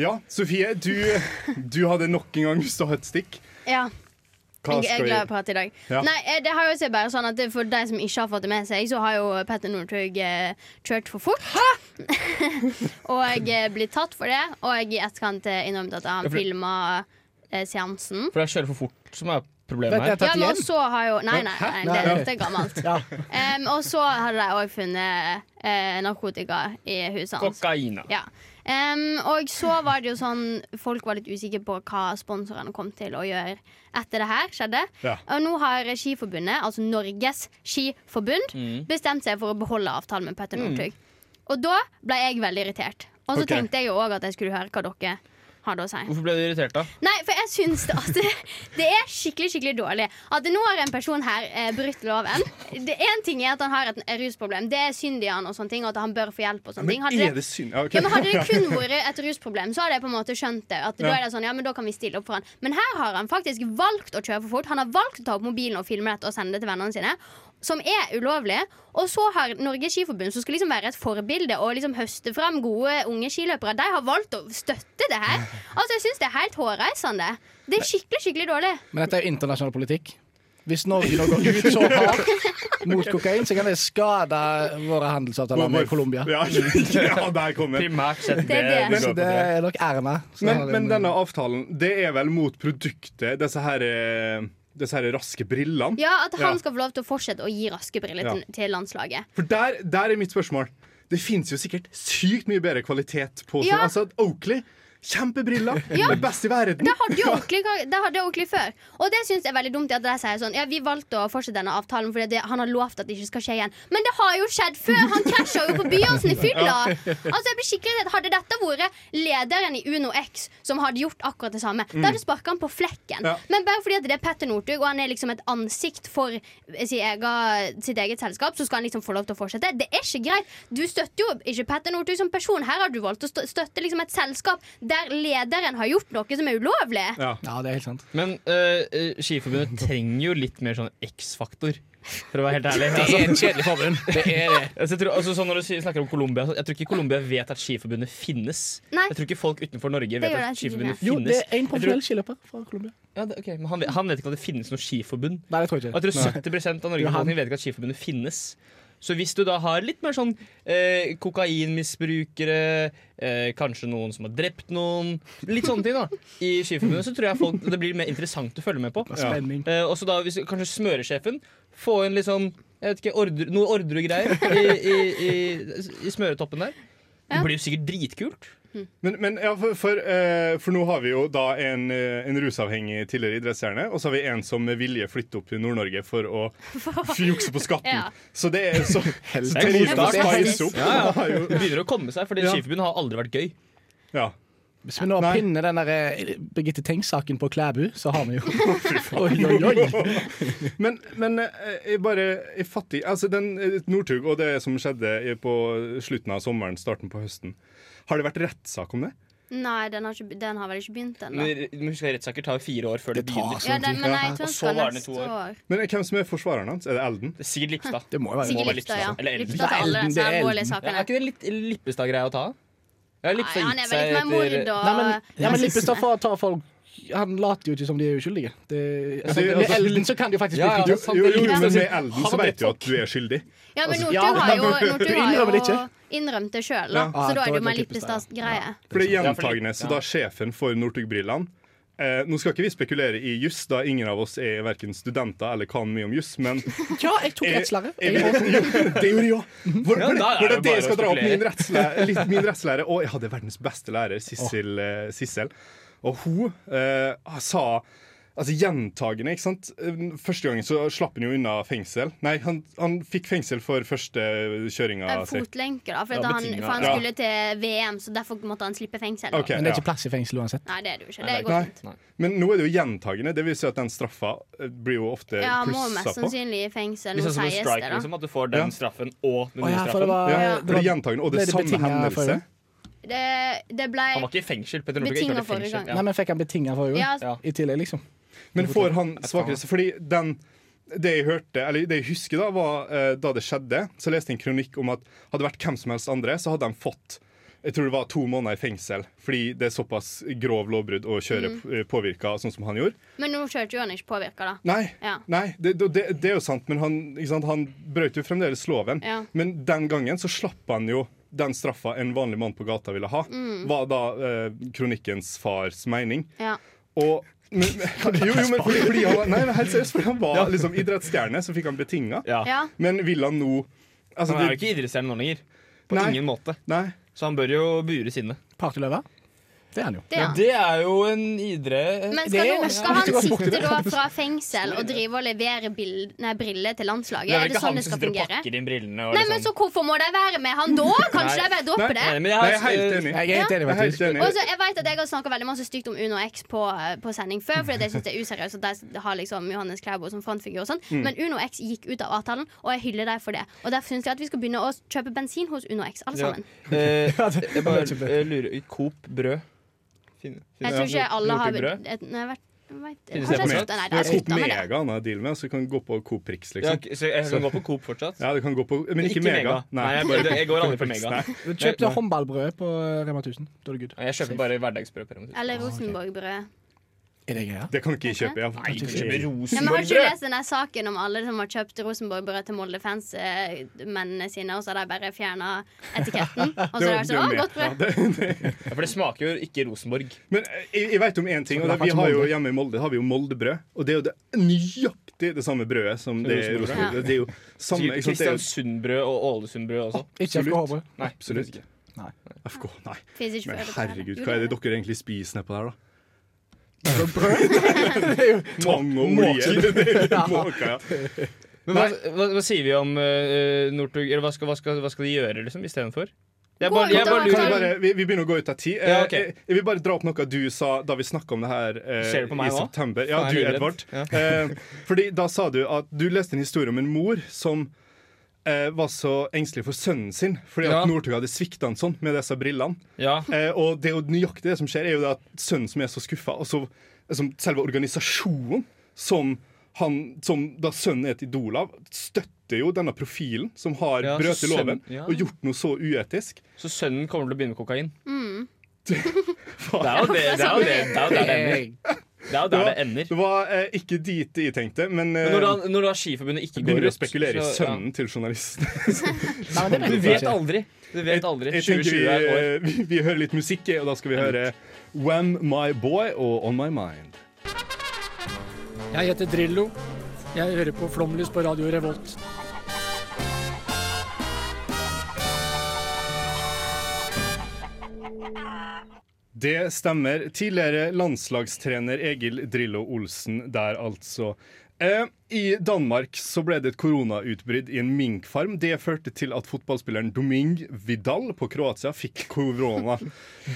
[SPEAKER 1] Ja, Sofie, du, du hadde nok en gang lyst til å ha et stikk.
[SPEAKER 2] Ja.
[SPEAKER 1] Hva
[SPEAKER 2] Jeg er
[SPEAKER 1] skal vi
[SPEAKER 2] glad i å prate i dag.
[SPEAKER 1] Ja.
[SPEAKER 2] Nei, eh, det har jo seg bare sånn at det- For de som ikke har fått det med seg, så har jo Petter Northug eh, kjørt for fort. og eh, blitt tatt for det. Og i etterkant eh, innrømmet at han
[SPEAKER 5] Ja, for-
[SPEAKER 2] filma eh, seansen.
[SPEAKER 5] For det er kjøre for fort som er
[SPEAKER 4] Vet
[SPEAKER 5] problemet
[SPEAKER 4] jeg
[SPEAKER 5] her.
[SPEAKER 2] Ja,
[SPEAKER 4] tatt
[SPEAKER 2] men
[SPEAKER 4] igjen?
[SPEAKER 2] også har jo Nei, nei, nei, det,
[SPEAKER 4] Nei.
[SPEAKER 2] dette er gammelt.
[SPEAKER 4] Ja.
[SPEAKER 2] Em, og så hadde de òg funnet eh, narkotika i huset hans.
[SPEAKER 5] Kokaina.
[SPEAKER 2] Ja. Em, og så var det jo sånn Folk var litt usikre på hva sponsorene kom til å gjøre etter det her skjedde.
[SPEAKER 1] Ja.
[SPEAKER 2] Og nå har Skiforbundet, altså Norges Skiforbund,
[SPEAKER 1] Mm.
[SPEAKER 2] bestemt seg for å beholde avtalen med Petter Northug. Og da ble jeg veldig irritert. Og så
[SPEAKER 1] Ok.
[SPEAKER 2] tenkte jeg jo òg at jeg skulle høre hva dere hadde å si.
[SPEAKER 5] Hvorfor ble du irritert, da?
[SPEAKER 2] Nei, for jeg syns det at det, det er skikkelig skikkelig dårlig. At nå har en person her eh, brutt loven. Det Én ting er at han har et rusproblem, det er synd i han, og sånne ting, og at han bør få hjelp. og sånne ting hadde
[SPEAKER 1] Er
[SPEAKER 2] det,
[SPEAKER 1] det synd? Ja, ok.
[SPEAKER 2] ja, men hadde det kun vært et rusproblem, så hadde jeg på en måte skjønt det. At Da er det sånn, ja, men da kan vi stille opp for han Men her har han faktisk valgt å kjøre for fort. Han har valgt å ta opp mobilen og filme dette og sende det til vennene sine. Som er ulovlig. Og så har Norges Skiforbund, som skal liksom være et forbilde og liksom høste fram gode unge skiløpere, de har valgt å støtte det her. Altså, Jeg syns det er helt hårreisende. Det er skikkelig, skikkelig dårlig.
[SPEAKER 4] Men dette er jo internasjonal politikk. Hvis Norge nå går ut så hardt mot kokain, så kan det skade våre handelsavtaler med Colombia.
[SPEAKER 1] Ja, ja, der kom den.
[SPEAKER 5] Primært sett
[SPEAKER 2] Det er det.
[SPEAKER 5] vi
[SPEAKER 4] Så
[SPEAKER 5] går på
[SPEAKER 4] det er nok Erna. som
[SPEAKER 1] Men,
[SPEAKER 4] har en-
[SPEAKER 1] men denne avtalen, det er vel mot produktet, disse her, eh, disse her raske brillene?
[SPEAKER 2] Ja, At han
[SPEAKER 1] Ja.
[SPEAKER 2] skal få lov til å fortsette å gi raske briller
[SPEAKER 1] Ja.
[SPEAKER 2] til, til landslaget.
[SPEAKER 1] For der, der er mitt spørsmål. Det finnes jo sikkert sykt mye bedre kvalitet på
[SPEAKER 2] Ja.
[SPEAKER 1] sånn. Altså, Oakley Kjempebriller!
[SPEAKER 2] Ja.
[SPEAKER 1] Det er Best i verden!
[SPEAKER 2] Det hadde jo ordentlig, det hadde jeg ordentlig før. Og det syns jeg er veldig dumt. At de sier sånn Ja, vi valgte å fortsette denne avtalen fordi det, han har lovt at det ikke skal skje igjen. Men det har jo skjedd før! Han krasja jo på Byåsen i fylla! Altså, jeg blir skikkelig redd. Hadde dette vært lederen i Uno X som hadde gjort akkurat det samme, da hadde du sparka han på flekken.
[SPEAKER 1] Ja.
[SPEAKER 2] Men bare fordi at det er Petter Northug, og han er liksom et ansikt for eh, sin egen, sitt eget selskap, så skal han liksom få lov til å fortsette. Det er ikke greit. Du støtter jo ikke Petter Northug som person. Her har du valgt å stø- støtte liksom et selskap der lederen har gjort noe som er ulovlig.
[SPEAKER 4] Ja, det er helt sant.
[SPEAKER 5] Men eh, eh, Skiforbundet trenger jo litt mer sånn X-faktor, for å være helt
[SPEAKER 4] Det
[SPEAKER 5] ærlig.
[SPEAKER 4] er
[SPEAKER 5] Altså,
[SPEAKER 4] en kjedelig forbund. Det er det.
[SPEAKER 5] altså, jeg tror, altså, sånn når du sier- snakker om Colombia, så jeg tror ikke Colombia vet at Skiforbundet finnes.
[SPEAKER 2] Nei.
[SPEAKER 5] Jeg tror ikke folk utenfor Norge
[SPEAKER 2] gjør
[SPEAKER 5] vet
[SPEAKER 2] det
[SPEAKER 5] at
[SPEAKER 2] ikke,
[SPEAKER 5] Skiforbundet
[SPEAKER 4] Jo, det
[SPEAKER 5] finnes.
[SPEAKER 4] er en profesjonell skiløper fra Colombia.
[SPEAKER 5] Ja, det, ok, men han, vet- han vet ikke at det finnes noe skiforbund.
[SPEAKER 4] Nei, det tror
[SPEAKER 5] Og
[SPEAKER 4] jeg ikke.
[SPEAKER 5] jeg tror 70 av Norges
[SPEAKER 4] Jo, han-
[SPEAKER 5] befolkning vet ikke at Skiforbundet finnes. Så hvis du da har litt mer sånn eh, kokainmisbrukere, eh, kanskje noen som har drept noen, litt sånne ting da, i Skiforbundet, så tror jeg folk, det blir mer interessant å følge med på.
[SPEAKER 4] Ja. Spenning.
[SPEAKER 5] Eh, og så da hvis kanskje smøresjefen få inn litt sånn jeg vet ikke, ordre, noe ordregreier i, i, i, i smøretoppen der. Det blir jo sikkert dritkult.
[SPEAKER 1] Men, men ja, for, for, eh, for nå har vi jo da en, eh, en rusavhengig tidligere idrettsstjerne, og så har vi en som med vilje flytter opp til Nord-Norge for å f- jukse på skatten.
[SPEAKER 2] Ja.
[SPEAKER 1] Så det er så, så
[SPEAKER 5] Det er
[SPEAKER 1] tariffen
[SPEAKER 5] god start.
[SPEAKER 1] skal opp.
[SPEAKER 5] Ja, ja. Det begynner å komme seg, for
[SPEAKER 1] Ja.
[SPEAKER 5] Skiforbundet har aldri vært gøy.
[SPEAKER 1] Ja.
[SPEAKER 4] Hvis vi nå
[SPEAKER 1] Nei.
[SPEAKER 4] pinner den der eh, Birgitte Tengs-saken på Klæbu, så har vi jo Oi, oi, oi.
[SPEAKER 1] Men, men eh, jeg bare jeg fatter ikke- Altså, den eh, Northug og det som skjedde i- på slutten av sommeren, starten på høsten, har det vært rettssak om det?
[SPEAKER 2] Nei, den har, ikke, den har vel ikke begynt ennå.
[SPEAKER 5] Men men husk at rettssaker tar jo fire år før det,
[SPEAKER 4] Det tar
[SPEAKER 5] begynner.
[SPEAKER 2] Ja, den, men nei, jeg tror
[SPEAKER 5] Og
[SPEAKER 2] han
[SPEAKER 5] så
[SPEAKER 2] skal
[SPEAKER 5] var den i
[SPEAKER 2] neste
[SPEAKER 5] to år.
[SPEAKER 2] år.
[SPEAKER 1] Men eh, hvem som er forsvareren hans? Er det Elden?
[SPEAKER 5] Det er sikkert Lippstad.
[SPEAKER 4] Det må jo være
[SPEAKER 5] Sikkert.
[SPEAKER 2] Sikkert
[SPEAKER 4] lov.
[SPEAKER 5] være
[SPEAKER 2] Lipstad, ja.
[SPEAKER 5] Lipstad, eller Elden.
[SPEAKER 2] Lipstad til alle
[SPEAKER 4] Elden, det
[SPEAKER 2] disse
[SPEAKER 4] er
[SPEAKER 2] alvorlige
[SPEAKER 4] Elden.
[SPEAKER 5] Ja, er
[SPEAKER 2] sakene.
[SPEAKER 5] ikke det litt Lippestad-greia å ta? Ja,
[SPEAKER 2] Nei,
[SPEAKER 5] Lippstad
[SPEAKER 2] han er
[SPEAKER 5] gikk
[SPEAKER 2] vel
[SPEAKER 5] seg
[SPEAKER 2] ikke med mord
[SPEAKER 5] etter
[SPEAKER 2] og
[SPEAKER 4] Nei, men, ja, men
[SPEAKER 2] rasisme.
[SPEAKER 4] Lippestad får ta folk Han later jo ikke som de er uskyldige. Det, altså,
[SPEAKER 1] det-
[SPEAKER 4] med
[SPEAKER 1] altså-
[SPEAKER 4] Elden så kan de jo faktisk
[SPEAKER 5] Ja, ja,
[SPEAKER 4] bli
[SPEAKER 1] Jo,
[SPEAKER 4] frigjort.
[SPEAKER 5] sant,
[SPEAKER 1] jo,
[SPEAKER 5] det er
[SPEAKER 1] jo,
[SPEAKER 5] riktig.
[SPEAKER 1] men med Elden
[SPEAKER 5] Han
[SPEAKER 1] så
[SPEAKER 5] var
[SPEAKER 1] vet du
[SPEAKER 5] drept
[SPEAKER 1] at du er skyldig.
[SPEAKER 2] Ja, men
[SPEAKER 4] ja,
[SPEAKER 2] Northug har jo,
[SPEAKER 4] men-
[SPEAKER 2] Northug
[SPEAKER 4] du
[SPEAKER 2] har
[SPEAKER 4] innrømmer
[SPEAKER 2] jo
[SPEAKER 4] det ikke.
[SPEAKER 2] innrømt det sjøl, da.
[SPEAKER 4] Ja,
[SPEAKER 2] Så da er det jo
[SPEAKER 4] da er
[SPEAKER 2] mer
[SPEAKER 4] det typisk
[SPEAKER 2] Lippestads
[SPEAKER 1] For det
[SPEAKER 2] greie.
[SPEAKER 1] er
[SPEAKER 5] Ja, for det-
[SPEAKER 1] gjentagende, så da sjefen for Northug-brillene eh, Nå skal ikke vi spekulere i juss, da ingen av oss er verken studenter eller kan mye om juss, men
[SPEAKER 4] Ja, jeg tok rettslære.
[SPEAKER 1] Jeg-
[SPEAKER 4] Jeg- Det gjorde de òg.
[SPEAKER 1] Hvor,
[SPEAKER 5] Ja,
[SPEAKER 1] hvor,
[SPEAKER 5] da er
[SPEAKER 1] hvor det er
[SPEAKER 5] det
[SPEAKER 1] det
[SPEAKER 5] bare
[SPEAKER 1] jeg skal
[SPEAKER 5] å
[SPEAKER 1] dra opp
[SPEAKER 5] spekulere.
[SPEAKER 1] min rettslærer, litt min rettslærer Og jeg hadde verdens beste lærer, Sissel. eh, Sissel. Og hun eh, sa Altså gjentagende, ikke sant. Første gangen så slapp han jo unna fengsel. Nei, han, han fikk fengsel for første kjøringa
[SPEAKER 2] Eh,
[SPEAKER 1] si.
[SPEAKER 2] Fotlenke, da. For,
[SPEAKER 5] Ja,
[SPEAKER 2] at han,
[SPEAKER 5] betinget,
[SPEAKER 2] for han
[SPEAKER 1] ja.
[SPEAKER 2] skulle til VM, så derfor måtte han slippe fengsel. da.
[SPEAKER 1] Ok,
[SPEAKER 4] Men det
[SPEAKER 1] ja.
[SPEAKER 4] er ikke plass i fengsel uansett.
[SPEAKER 2] Nei, det er det jo ikke. Det
[SPEAKER 5] det er
[SPEAKER 2] går fint.
[SPEAKER 1] Men nå er det jo gjentagende. Det vil si at den straffa eh, blir jo ofte
[SPEAKER 2] Ja, han må mest
[SPEAKER 1] plussa på.
[SPEAKER 2] sannsynlig i fengsel.
[SPEAKER 5] Litt
[SPEAKER 2] Nå
[SPEAKER 5] sånn som en
[SPEAKER 2] sies det,
[SPEAKER 5] strike,
[SPEAKER 2] da.
[SPEAKER 5] liksom. At du får
[SPEAKER 1] Ja.
[SPEAKER 5] den straffen og den
[SPEAKER 4] Å
[SPEAKER 5] nye
[SPEAKER 4] ja, for det
[SPEAKER 5] straffen.
[SPEAKER 4] var,
[SPEAKER 1] Ja,
[SPEAKER 2] ja.
[SPEAKER 4] det
[SPEAKER 1] for det
[SPEAKER 4] var
[SPEAKER 1] er gjentagende, og det
[SPEAKER 4] ble det
[SPEAKER 1] er samme
[SPEAKER 4] betinget for
[SPEAKER 1] hendelse.
[SPEAKER 4] det?
[SPEAKER 2] Det, det ble
[SPEAKER 5] Han var ikke i fengsel. Petter Northug har ikke
[SPEAKER 2] Betinget
[SPEAKER 5] vært i fengsel.
[SPEAKER 2] forrige gang.
[SPEAKER 4] Nei, men fikk han betinga forrige
[SPEAKER 2] Ja,
[SPEAKER 4] gang? I tillegg, liksom.
[SPEAKER 1] Men får han svakreste Fordi den, det jeg hørte, eller det jeg husker da, var eh, da det skjedde, så leste jeg en kronikk om at hadde det vært hvem som helst andre, så hadde de fått jeg tror det var to måneder i fengsel, fordi det er såpass grov lovbrudd å kjøre mm. påvirka sånn som han gjorde.
[SPEAKER 2] men nå kjørte jo han ikke påvirka, da.
[SPEAKER 1] Nei,
[SPEAKER 2] Ja.
[SPEAKER 1] nei det, det, det er jo sant, men han, ikke sant, han brøt jo fremdeles loven.
[SPEAKER 2] Ja.
[SPEAKER 1] Men den gangen så slapp han jo den straffa en vanlig mann på gata ville ha,
[SPEAKER 2] Mm.
[SPEAKER 1] var da eh, kronikkens fars mening.
[SPEAKER 2] Ja.
[SPEAKER 1] Og men, men- jo, jo, men fordi, fordi han, var- nei, men helt seriøst, fordi han var liksom idrettsstjerne, så fikk han betinga.
[SPEAKER 5] Ja.
[SPEAKER 2] ja.
[SPEAKER 1] Men vil han nå altså,
[SPEAKER 5] Han er jo
[SPEAKER 1] det,
[SPEAKER 5] ikke idrettsstjerne nå lenger. På
[SPEAKER 1] Nei.
[SPEAKER 5] ingen måte.
[SPEAKER 1] Nei.
[SPEAKER 5] Så han bør jo bures inne.
[SPEAKER 4] Partyløve. Det er han jo.
[SPEAKER 2] Det, ja.
[SPEAKER 5] Det er jo en idrett
[SPEAKER 2] Men
[SPEAKER 4] Det
[SPEAKER 2] skal,
[SPEAKER 4] er
[SPEAKER 2] nå, skal
[SPEAKER 4] nesten
[SPEAKER 2] han
[SPEAKER 4] litt å gå bort i
[SPEAKER 2] sitte da fra fengsel og drive og levere bild, nei, briller til landslaget?
[SPEAKER 5] Det er
[SPEAKER 2] Er
[SPEAKER 5] vel
[SPEAKER 2] det
[SPEAKER 5] ikke
[SPEAKER 2] sånn
[SPEAKER 5] han
[SPEAKER 2] det
[SPEAKER 5] som
[SPEAKER 2] skal
[SPEAKER 5] sitter og
[SPEAKER 2] fungere?
[SPEAKER 5] pakker sånn. inn brillene. Og liksom-
[SPEAKER 2] Nei, men så hvorfor må de være med han da? Kanskje de
[SPEAKER 5] Nei.
[SPEAKER 2] bare dropper det?
[SPEAKER 1] Nei.
[SPEAKER 5] men jeg
[SPEAKER 1] Nei, jeg
[SPEAKER 5] har,
[SPEAKER 1] er helt enig.
[SPEAKER 4] Jeg er helt
[SPEAKER 1] Jeg
[SPEAKER 4] enig,
[SPEAKER 1] er helt
[SPEAKER 4] faktisk.
[SPEAKER 1] enig.
[SPEAKER 2] altså, Og så, jeg vet at jeg har snakka veldig masse stygt om Uno X på, eh, på sending før, fordi at jeg synes det er useriøst at de har liksom Johannes Klæbo som frontfigur og sånn, men Uno X gikk ut av avtalen, og jeg hyller dem for det. Og derfor syns jeg at vi skal begynne å kjøpe bensin hos Uno X, alle sammen.
[SPEAKER 5] Eh, jeg bare eh, lurer Coop brød. Fin-
[SPEAKER 2] Jeg
[SPEAKER 5] finnes det
[SPEAKER 2] tror ikke
[SPEAKER 5] noe-
[SPEAKER 2] alle
[SPEAKER 5] noe
[SPEAKER 2] har
[SPEAKER 5] til brød?
[SPEAKER 2] et, nei, jeg vet, jeg vet, Kanskje
[SPEAKER 5] Finnes det på
[SPEAKER 2] jeg
[SPEAKER 5] nett?
[SPEAKER 2] slutta? Nei,
[SPEAKER 1] Det er
[SPEAKER 2] jeg har
[SPEAKER 1] Coop
[SPEAKER 2] slutta med det.
[SPEAKER 1] Mega han har deal med, så kan du gå på Coop Prix,
[SPEAKER 5] Ja,
[SPEAKER 1] liksom.
[SPEAKER 5] ok, så jeg kan gå på Coop fortsatt?
[SPEAKER 1] Ja, du kan gå på, men ikke, Mega.
[SPEAKER 5] Nei, jeg, bare, jeg går aldri på Mega.
[SPEAKER 1] Nei.
[SPEAKER 4] Du kjøpte håndballbrødet på Rema 1000. Da er det good.
[SPEAKER 5] Jeg kjøper bare hverdagsbrød. på Rema 1000.
[SPEAKER 2] Eller Rosenborg-brød.
[SPEAKER 4] Er det greia?
[SPEAKER 1] Det kan ikke jeg kjøpe. Jeg,
[SPEAKER 5] Nei, du kjøper
[SPEAKER 2] Ja, men har ikke du
[SPEAKER 5] Rosenborg-brød!
[SPEAKER 2] lest den der saken om alle som har kjøpt Rosenborg-brød til Molde-fans-mennene sine, og så har de bare fjerna etiketten? Og så
[SPEAKER 1] Det var-
[SPEAKER 2] har de
[SPEAKER 1] det
[SPEAKER 2] vært sånn
[SPEAKER 1] var
[SPEAKER 2] Å,
[SPEAKER 1] med.
[SPEAKER 2] godt brød!
[SPEAKER 5] Ja, for det smaker jo ikke Rosenborg.
[SPEAKER 1] Men eh, jeg, jeg vet om én ting. Og det,
[SPEAKER 4] det er
[SPEAKER 1] vi
[SPEAKER 4] faktisk
[SPEAKER 1] har jo
[SPEAKER 4] Molde.
[SPEAKER 1] Hjemme i Molde har vi jo Moldebrød. Og det er jo det nøyaktig det samme brødet som det er i
[SPEAKER 5] Rosenborg.
[SPEAKER 1] Rosenborg. Det er jo samme, ikke sant? Det er jo
[SPEAKER 5] Kristiansundbrød og Ålesundbrød også.
[SPEAKER 4] Ikke
[SPEAKER 1] Absolutt.
[SPEAKER 4] FKH-brød.
[SPEAKER 1] Absolutt. FK, nei.
[SPEAKER 2] Fins ikke
[SPEAKER 1] Men
[SPEAKER 2] for øvrig på
[SPEAKER 1] herregud,
[SPEAKER 2] det.
[SPEAKER 1] hva er det
[SPEAKER 2] Jo,
[SPEAKER 1] dere egentlig spiser nedpå der, da?
[SPEAKER 4] Det
[SPEAKER 1] Tang og olje? Det er jo Måka, ja.
[SPEAKER 5] Men hva, hva, hva sier vi om eh, Northug Eller hva skal, hva, skal, hva skal de gjøre, liksom, istedenfor? Jeg
[SPEAKER 2] Gå
[SPEAKER 5] bare, jeg
[SPEAKER 2] ut av
[SPEAKER 5] bare
[SPEAKER 1] Kan vi,
[SPEAKER 5] lurer
[SPEAKER 2] avtalen.
[SPEAKER 1] bare, vi, vi begynner å gå ut av tid. Eh,
[SPEAKER 5] Ja, ok.
[SPEAKER 1] jeg, jeg vil bare dra opp noe du sa da vi snakka om det her eh,
[SPEAKER 5] Ser du på meg
[SPEAKER 1] i
[SPEAKER 5] nå?
[SPEAKER 1] september. Ja,
[SPEAKER 5] Faen,
[SPEAKER 1] du,
[SPEAKER 5] jeg er
[SPEAKER 1] Edvard.
[SPEAKER 5] livredd.
[SPEAKER 1] Eh, fordi da sa du at du leste en historie om en mor som eh, var så engstelig for sønnen sin fordi
[SPEAKER 5] Ja.
[SPEAKER 1] at Northug hadde svikta han sånn med disse brillene.
[SPEAKER 5] Ja.
[SPEAKER 1] Eh, og det er jo nøyaktig det som skjer, er jo det at sønnen som er så skuffa, og så liksom, selve organisasjonen som han, som da sønnen er et idol av, støtter jo denne profilen som har
[SPEAKER 5] Ja, så
[SPEAKER 1] brøt i loven
[SPEAKER 5] sønnen- ja.
[SPEAKER 1] og gjort noe så uetisk.
[SPEAKER 5] Så sønnen kommer til å begynne med kokain.
[SPEAKER 1] Faen.
[SPEAKER 5] Det er jo det det er jo det, det, er jo der det ender. Det er jo der det
[SPEAKER 1] Det
[SPEAKER 5] ender.
[SPEAKER 1] var eh, ikke dit jeg tenkte, men eh,
[SPEAKER 5] Men når da, når da Skiforbundet ikke går
[SPEAKER 1] begynner å
[SPEAKER 5] ut,
[SPEAKER 1] spekulere i
[SPEAKER 5] så- ja.
[SPEAKER 1] sønnen til journalisten.
[SPEAKER 4] Nei, men det vet
[SPEAKER 5] Du
[SPEAKER 4] jeg
[SPEAKER 5] vet
[SPEAKER 4] ikke.
[SPEAKER 5] aldri. Du vet aldri.
[SPEAKER 1] Jeg, jeg tenker
[SPEAKER 5] 2020
[SPEAKER 1] vi,
[SPEAKER 5] er et år.
[SPEAKER 1] eh, vi, vi hører litt musikk, og da skal vi høre Wham My Boy og On My Mind.
[SPEAKER 4] Jeg heter Drillo. Jeg hører på Flomlys på Radio Revolt.
[SPEAKER 1] Det stemmer. Tidligere landslagstrener Egil Drillo Olsen der, altså. Eh, I Danmark så ble det et koronautbrudd i en minkfarm. Det førte til at fotballspilleren Doming Vidal på Kroatia fikk korona.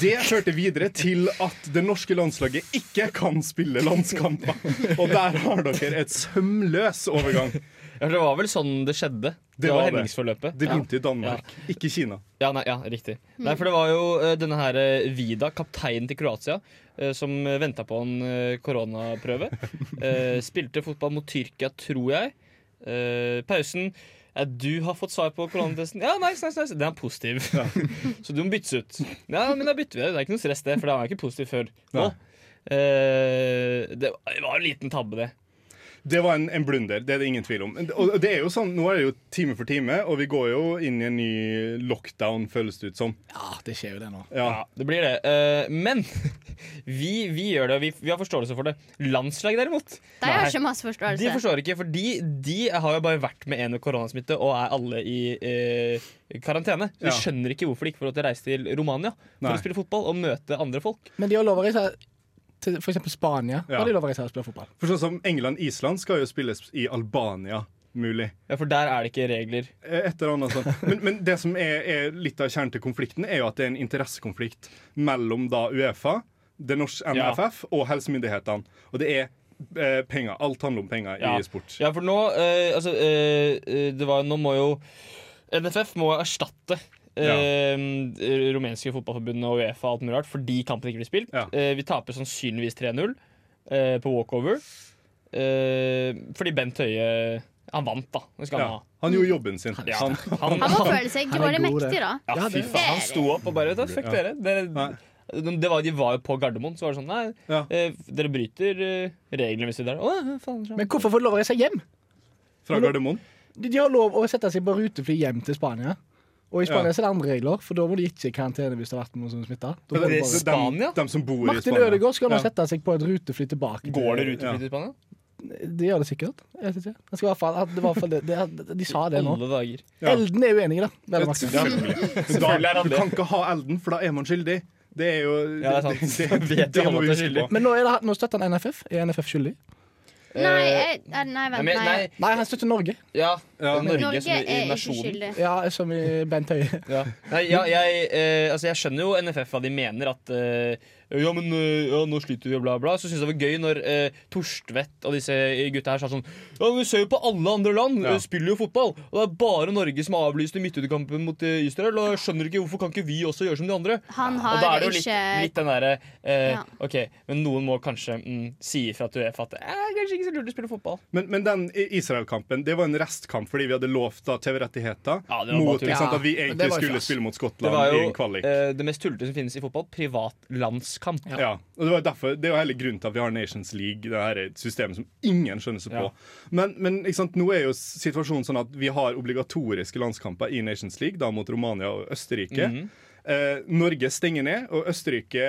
[SPEAKER 1] Det førte videre til at det norske landslaget ikke kan spille landskamper. Og der har dere et sømløs overgang.
[SPEAKER 5] Ja, det var vel sånn det skjedde. Det,
[SPEAKER 1] Det
[SPEAKER 5] var
[SPEAKER 1] var det.
[SPEAKER 5] hendingsforløpet.
[SPEAKER 1] Det
[SPEAKER 5] Ja.
[SPEAKER 1] begynte i Danmark, ikke Kina.
[SPEAKER 5] Ja, nei, ja, riktig. Nei, for det var jo eh, denne her eh, Vida, kapteinen til Kroatia, eh, som venta på en eh, koronaprøve. Eh, spilte fotball mot Tyrkia, tror jeg. Eh, pausen ja, du har fått svar på koronatesten. Ja, nice, nice, nice. Den er positiv. Så du må byttes ut. Ja, men da bytter vi det. Det er ikke noe stress, det, for den var ikke positiv før. Nå. Eh, det var en liten tabbe, det.
[SPEAKER 1] Det var en, en blunder, det er det ingen tvil om. Og det er jo sånn, Nå er det jo time for time, og vi går jo inn i en ny lockdown, føles det ut som.
[SPEAKER 4] Ja, det skjer jo det nå.
[SPEAKER 1] Ja.
[SPEAKER 5] Det blir det. Eh, men vi, vi gjør det, og vi, vi har forståelse for det. Landslaget, derimot
[SPEAKER 2] Der har
[SPEAKER 5] Nei.
[SPEAKER 2] jeg ikke masse
[SPEAKER 5] De
[SPEAKER 2] forståelse.
[SPEAKER 5] forstår ikke, for de, de har jo bare vært med en koronasmitte og er alle i eh, karantene. Så de
[SPEAKER 1] Ja.
[SPEAKER 5] skjønner ikke hvorfor de ikke får lov til å reise til Romania for
[SPEAKER 1] Nei.
[SPEAKER 5] å spille fotball og møte andre folk.
[SPEAKER 4] Men de har lov å reise til for eksempel Spania.
[SPEAKER 1] Ja.
[SPEAKER 4] Har de lov å reise her og spille fotball?
[SPEAKER 1] For sånn som England-Island skal jo spilles i Albania, mulig.
[SPEAKER 5] Ja, For der er det ikke regler.
[SPEAKER 1] Eh, Et eller annet sånt. Men, men det som er, er litt av kjernen til konflikten, er jo at det er en interessekonflikt mellom da Uefa, det norske
[SPEAKER 5] Ja.
[SPEAKER 1] NFF og helsemyndighetene. Og det er eh, penger. Alt handler om penger
[SPEAKER 5] Ja.
[SPEAKER 1] i sport.
[SPEAKER 5] Ja, for nå eh, Altså, eh, eh, det var Nå må jo NFF må erstatte eh, rumenske fotballforbundet og Uefa og alt mulig rart fordi kampen ikke blir spilt.
[SPEAKER 1] Ja.
[SPEAKER 5] Eh, vi taper sannsynligvis 3-0 eh, på walkover. Eh, fordi Bent Høie Han vant, da. Det skal
[SPEAKER 1] Ja.
[SPEAKER 5] han ha.
[SPEAKER 1] Han gjorde jobben sin.
[SPEAKER 5] Ja.
[SPEAKER 1] Han,
[SPEAKER 5] Han,
[SPEAKER 2] Han må føle seg
[SPEAKER 4] Han er
[SPEAKER 2] grådig
[SPEAKER 4] god, det.
[SPEAKER 2] mektig, da.
[SPEAKER 5] ja, fy faen, han sto opp og bare vet du, Fuck dere. dere de, det var, de var jo på Gardermoen, så var det sånn Nei,
[SPEAKER 1] Ja.
[SPEAKER 5] eh, dere bryter eh, reglene hvis vi drar. Å, ja, faen, sånn.
[SPEAKER 4] Men hvorfor får de lov å reise hjem?
[SPEAKER 1] fra Gardermoen.
[SPEAKER 4] De, de har lov å sette seg på rutefly hjem til Spania. Og i Spania
[SPEAKER 1] Ja.
[SPEAKER 4] så er det andre regler, for da må de ikke i karantene hvis det har vært noen som smitter. Da må de
[SPEAKER 5] det-
[SPEAKER 4] bare...
[SPEAKER 5] Spania?
[SPEAKER 1] De, de som bor i
[SPEAKER 4] Martin
[SPEAKER 1] Spania.
[SPEAKER 4] Ødegaard skal nå
[SPEAKER 1] Ja.
[SPEAKER 4] sette seg på et rutefly tilbake. til-
[SPEAKER 5] Går det rutefly
[SPEAKER 1] Ja.
[SPEAKER 5] til Spania?
[SPEAKER 4] De gjør det sikkert. Jeg vet ikke. Jeg skal i hvert fall, det var i hvert fall det, det, de sa det nå.
[SPEAKER 5] Alle dager.
[SPEAKER 1] Ja.
[SPEAKER 4] Elden er uenige, da. Vel, Martin.
[SPEAKER 1] Selvfølgelig.
[SPEAKER 5] Selvfølgelig er
[SPEAKER 1] Da,
[SPEAKER 5] han
[SPEAKER 1] du
[SPEAKER 5] det.
[SPEAKER 1] kan ikke ha Elden, for da er man skyldig. Det er jo
[SPEAKER 5] Ja, det er sant. Da vet jo alle
[SPEAKER 1] må vi
[SPEAKER 5] at det er
[SPEAKER 1] huske
[SPEAKER 5] skyldig.
[SPEAKER 1] på.
[SPEAKER 4] Men nå, er det, nå støtter han NFF. Er NFF skyldig?
[SPEAKER 2] Nei, jeg, nei, nei,
[SPEAKER 5] Nei,
[SPEAKER 2] vent.
[SPEAKER 5] men, nei,
[SPEAKER 2] Nei.
[SPEAKER 4] Nei, han støtter Norge.
[SPEAKER 5] ja,
[SPEAKER 1] Ja.
[SPEAKER 5] Norge,
[SPEAKER 2] Norge
[SPEAKER 5] som i- i
[SPEAKER 2] er ikke
[SPEAKER 5] nasjonen.
[SPEAKER 2] skyldig.
[SPEAKER 4] Ja, som i Bent Høie.
[SPEAKER 5] Ja. Nei, ja, jeg, eh, altså, jeg skjønner jo NFF hva de mener, at eh, Ja, men eh, ja, nå sliter vi, og bla, bla. Så syns jeg det var gøy når eh, Torstvedt og disse gutta her sa sånn Ja, men vi ser jo på alle andre land,
[SPEAKER 1] Ja.
[SPEAKER 5] eh, spiller jo fotball. Og det er bare Norge som har avlyst i midtukekampen mot eh, Israel. Og jeg skjønner ikke hvorfor kan ikke vi også gjøre som de andre?
[SPEAKER 2] Han
[SPEAKER 5] Og da er
[SPEAKER 2] har
[SPEAKER 5] det jo litt,
[SPEAKER 2] ikke
[SPEAKER 5] litt den derre eh,
[SPEAKER 2] Ja.
[SPEAKER 5] OK, men noen må kanskje mm, si ifra til Uefa at det er kanskje ikke så lurt å spille fotball.
[SPEAKER 1] Men, men den i- Israel-kampen det var en restkamp fordi vi hadde lovt da TV-rettigheter
[SPEAKER 5] Ja, det var bare
[SPEAKER 1] mot
[SPEAKER 5] tull.
[SPEAKER 1] ikke sant,
[SPEAKER 4] Ja,
[SPEAKER 1] at vi
[SPEAKER 4] men det
[SPEAKER 1] egentlig
[SPEAKER 4] var jo
[SPEAKER 1] skulle
[SPEAKER 4] fjas.
[SPEAKER 1] spille mot
[SPEAKER 5] Det
[SPEAKER 1] Skottland
[SPEAKER 5] var
[SPEAKER 1] i
[SPEAKER 5] jo
[SPEAKER 1] en kvalik.
[SPEAKER 5] eh, det mest tullete som finnes i fotball. Privat landskamp.
[SPEAKER 1] Ja. og Det var derfor, det er jo hele grunnen til at vi har Nations League, det her systemet som ingen skjønner seg på.
[SPEAKER 5] Ja.
[SPEAKER 1] Men, men ikke sant, nå er jo situasjonen sånn at vi har obligatoriske landskamper i Nations League, da mot Romania og Østerrike.
[SPEAKER 5] Mhm.
[SPEAKER 1] eh, Norge stenger ned, og Østerrike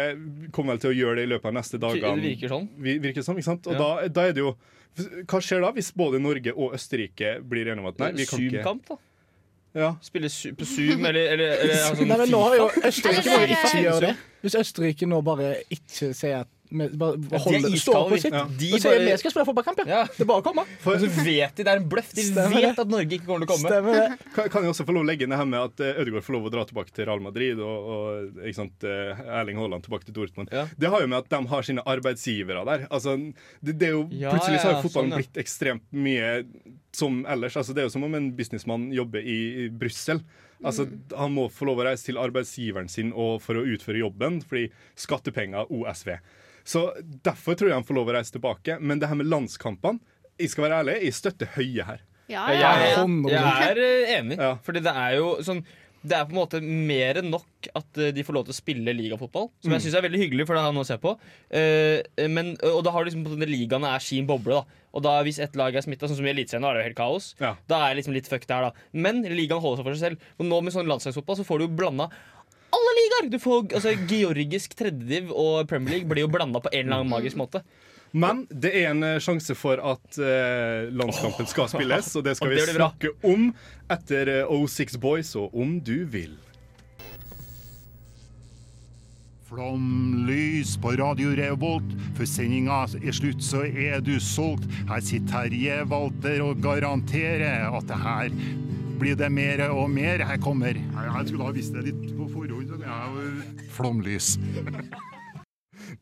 [SPEAKER 1] kommer vel til å gjøre det i løpet av neste dagene.
[SPEAKER 5] Det virker sånn.
[SPEAKER 1] Vi- virker det som, ikke sant? Og
[SPEAKER 5] Ja.
[SPEAKER 1] da, da er det jo Hva skjer da hvis både Norge og Østerrike blir enige om at nei, vi kan ikke
[SPEAKER 5] Zoom-kamp, da.
[SPEAKER 1] Ja.
[SPEAKER 5] Spille su på Zoom eller, eller, eller ha sånn
[SPEAKER 4] Nei, men nå har jo
[SPEAKER 2] Eller
[SPEAKER 4] Østerrike nå
[SPEAKER 2] det er-
[SPEAKER 4] ikke gjør det. Hvis Østerrike nå bare ikke sier at vi bare holder, står på sitt,
[SPEAKER 5] Ja. De
[SPEAKER 4] og sier
[SPEAKER 5] bare-
[SPEAKER 4] vi skal spille fotballkamp, ja.
[SPEAKER 5] Ja.
[SPEAKER 4] Det er bare å komme.
[SPEAKER 5] Og så vet de det er en bløff. De
[SPEAKER 4] Stemmer
[SPEAKER 5] vet
[SPEAKER 4] det.
[SPEAKER 5] at Norge ikke kommer til å komme.
[SPEAKER 4] Stemmer det.
[SPEAKER 1] Kan, kan jeg også få lov å legge inn det her med at eh, Ødegaard får lov å dra tilbake til Real Madrid og, og ikke sant, eh, Erling Haaland tilbake til Dortmund.
[SPEAKER 5] Ja.
[SPEAKER 1] Det har jo med at de har sine arbeidsgivere der. Altså, det, det er jo,
[SPEAKER 5] Ja,
[SPEAKER 1] plutselig så har
[SPEAKER 5] ja,
[SPEAKER 1] jo fotballen
[SPEAKER 5] sånn, ja.
[SPEAKER 1] blitt ekstremt mye som ellers. Altså, det er jo som om en businessmann jobber i, i Brussel. Altså,
[SPEAKER 5] Mm.
[SPEAKER 1] Han må få lov å reise til arbeidsgiveren sin og for å utføre jobben, fordi skattepenger OSV. Så Derfor tror jeg han får lov å reise tilbake. Men det her med landskampene Jeg skal være ærlig, jeg støtter Høie her.
[SPEAKER 2] Ja, ja,
[SPEAKER 5] Jeg,
[SPEAKER 2] ja.
[SPEAKER 5] jeg, jeg er eh, enig,
[SPEAKER 1] Ja.
[SPEAKER 5] Fordi det er jo sånn det er på en måte mer enn nok at eh, de får lov til å spille ligafotball. Som
[SPEAKER 1] Mm.
[SPEAKER 5] jeg synes er veldig hyggelig, for det har jeg nå å se på. Eh, men, og da har du liksom på denne ligaen er sin boble. da Og da hvis ett lag er smitta, sånn som i Eliteserien, da er det jo helt kaos.
[SPEAKER 1] Ja.
[SPEAKER 5] Da er jeg liksom litt fucked der, da. Men ligaen holder seg for seg selv. Og nå med sånn landslagsfotball så får du jo blanda alle ligaer! Du får, altså, Georgisk tredjediv og Premier League blir jo blanda på en eller
[SPEAKER 1] Mm.
[SPEAKER 5] annen magisk måte.
[SPEAKER 1] Men det er en eh, sjanse for at eh, landskampen skal spilles, og det skal
[SPEAKER 5] Og
[SPEAKER 1] vi
[SPEAKER 5] det blir bra.
[SPEAKER 1] snakke om etter eh, O6 Boys og Om du vil.
[SPEAKER 8] Flomlys på Radio Revolt. Før sendinga er slutt, så er du solgt. Her sitter Terje Walter og garanterer at det her blir det mer og mer. Her kommer Jeg skulle ha visst det litt på forhånd. Flomlys.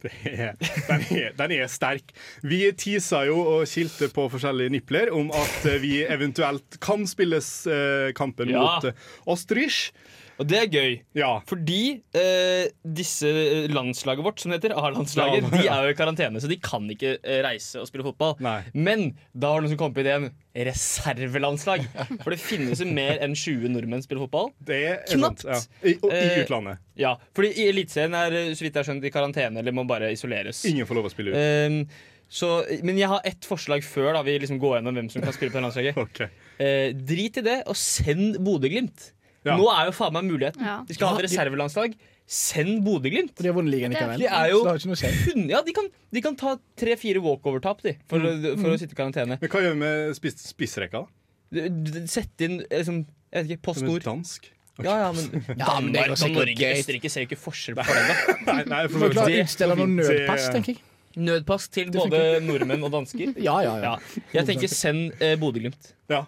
[SPEAKER 1] Det er, den, er, den er sterk. Vi tisa jo og kilte på forskjellige nipler om at eh, vi eventuelt kan spilles eh, kampen
[SPEAKER 5] Ja.
[SPEAKER 1] mot eh, Ostrich.
[SPEAKER 5] Og det er gøy.
[SPEAKER 1] Ja.
[SPEAKER 5] Fordi eh, disse eh, landslaget vårt, som det heter, A-landslaget,
[SPEAKER 1] Ja,
[SPEAKER 5] de er jo i karantene, så de kan ikke eh, reise og spille fotball.
[SPEAKER 1] Nei.
[SPEAKER 5] Men da var det noen som kom på ideen reservelandslag. For det finnes jo mer enn 20 nordmenn som spiller fotball.
[SPEAKER 1] Det er
[SPEAKER 5] Knapt.
[SPEAKER 1] sant, Ja. I, og, I
[SPEAKER 5] Eh,
[SPEAKER 1] utlandet.
[SPEAKER 5] Ja, fordi i Eliteserien er eh, så vidt jeg har skjønt i karantene eller må bare isoleres.
[SPEAKER 1] Ingen får lov å spille ut.
[SPEAKER 5] Ehm, så, men jeg har ett forslag før da vi liksom går gjennom hvem som kan spille på det landslaget.
[SPEAKER 1] Ok.
[SPEAKER 5] Eh, drit i det, og send Bodø-Glimt.
[SPEAKER 1] Ja.
[SPEAKER 5] Nå er jo faen meg muligheten.
[SPEAKER 2] Ja.
[SPEAKER 5] De skal ha et reservelandslag. Send Bodø-Glimt.
[SPEAKER 4] Og de har vunnet ligaen
[SPEAKER 2] Det er
[SPEAKER 4] likevel.
[SPEAKER 5] De er jo
[SPEAKER 4] Så det har ikke noe å si.
[SPEAKER 5] kun- ja, de, kan, de kan ta tre-fire walkover-tap de, for, å- for å sitte i karantene.
[SPEAKER 1] Men hva gjør vi med spiss, spissrekka? da?
[SPEAKER 5] D- d- Sett inn eh, liksom, jeg vet ikke,
[SPEAKER 1] Som en
[SPEAKER 5] postord.
[SPEAKER 1] Dansk?
[SPEAKER 5] Ja, ja, men
[SPEAKER 4] Ja, men det er jo
[SPEAKER 5] Danmark og
[SPEAKER 4] sikkert
[SPEAKER 5] Norge
[SPEAKER 4] gøy.
[SPEAKER 5] Østerrike ser jo ikke forskjell på det.
[SPEAKER 1] Nei, nei, for
[SPEAKER 4] Du får klart
[SPEAKER 5] Det-
[SPEAKER 4] utstille noen
[SPEAKER 1] det-
[SPEAKER 4] nødpass, tenker jeg.
[SPEAKER 5] Nødpass til
[SPEAKER 4] Det
[SPEAKER 5] både nordmenn og dansker.
[SPEAKER 4] Ja, ja, ja.
[SPEAKER 5] Ja. Jeg tenker send eh, Bodø-Glimt.
[SPEAKER 1] Ja.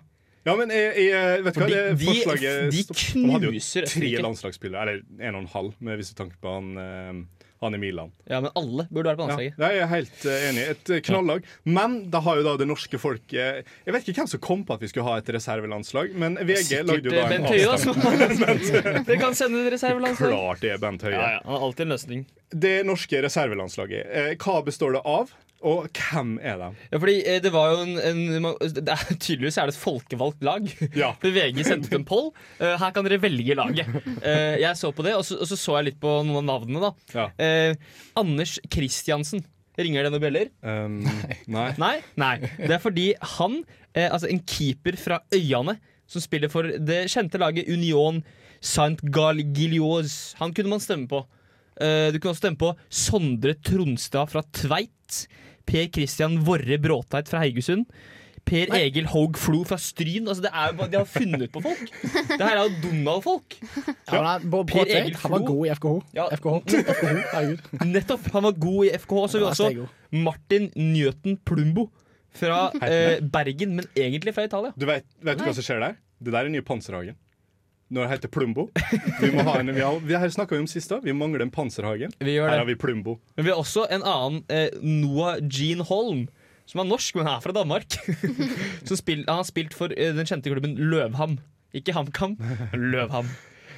[SPEAKER 1] ja, men jeg, jeg vet du hva,
[SPEAKER 5] Fordi
[SPEAKER 1] det
[SPEAKER 5] de-
[SPEAKER 1] forslaget
[SPEAKER 5] de
[SPEAKER 1] stopp- Han hadde jo
[SPEAKER 5] knuser
[SPEAKER 1] Tre
[SPEAKER 5] Østerrike.
[SPEAKER 1] landslagsspillere, eller en og en halv, med visse tanker på han, eh, han i Milan.
[SPEAKER 5] Ja, men alle burde være på
[SPEAKER 1] Ja,
[SPEAKER 5] landslaget.
[SPEAKER 1] jeg er helt eh, enig. Et eh, knallag. Men da har jo da det norske folk eh, Jeg vet ikke hvem som kom på at vi skulle ha et reservelandslag, men VG lagde jo
[SPEAKER 5] Sikkert
[SPEAKER 1] da
[SPEAKER 5] eh,
[SPEAKER 1] en
[SPEAKER 5] Bent Høie. da,
[SPEAKER 1] avstemning.
[SPEAKER 5] som har landslaget. Dere kan sende et reservelandslag.
[SPEAKER 1] Klart det er Bent Høie.
[SPEAKER 5] Ja, ja, Han har alltid en løsning.
[SPEAKER 1] Det norske reservelandslaget, eh, hva består det av? Og hvem er de?
[SPEAKER 5] Ja, fordi eh, det var jo en, en man- det er, Tydeligvis er det et folkevalgt lag.
[SPEAKER 1] Ja.
[SPEAKER 5] For VG sendte ut en poll. Eh, her kan dere velge laget. Eh, jeg så på det, og så, og så så jeg litt på noen av navnene. da
[SPEAKER 1] Ja.
[SPEAKER 5] Eh, Anders Kristiansen. Ringer det noen bjeller?
[SPEAKER 1] Um, nei.
[SPEAKER 5] Nei? Nei. Det er fordi han, eh, altså en keeper fra Øyane, som spiller for det kjente laget Union Saint-Galgilioz, han kunne man stemme på. Eh, du kunne også stemme på Sondre Tronstad fra Tveit. Per Christian Vorre Bråteit fra Haugesund. Per Egil Haug Flo fra Stryn. Altså, det er jo bare, de har funnet på folk! Det her er jo Donald-folk.
[SPEAKER 4] Ja, men han- Bård
[SPEAKER 5] Per
[SPEAKER 4] Bråtveit,
[SPEAKER 5] Egil
[SPEAKER 4] han var
[SPEAKER 5] Flo.
[SPEAKER 4] god i FKH.
[SPEAKER 5] Ja.
[SPEAKER 4] FKH. FKH. Herregud.
[SPEAKER 5] Nettopp! Han var god i FKH. Så har vi
[SPEAKER 4] Ja,
[SPEAKER 5] også
[SPEAKER 4] det er god.
[SPEAKER 5] Martin Njøten Plumbo fra eh, Bergen, men egentlig fra Italia.
[SPEAKER 1] Du vet, vet du hva som skjer der? Det der er nye panserhagen. Når det heter Plumbo. Vi må ha en, vi har, vi her snakka vi om sist, da. Vi mangler en panserhagen.
[SPEAKER 5] Vi gjør
[SPEAKER 1] Her
[SPEAKER 5] det.
[SPEAKER 1] har vi Plumbo.
[SPEAKER 5] Men vi har også en annen eh, Noah Jean Holm, som er norsk, men er fra Danmark. som spill, han har spilt for eh, den kjente klubben Løvham. Ikke HamKam, Løvham.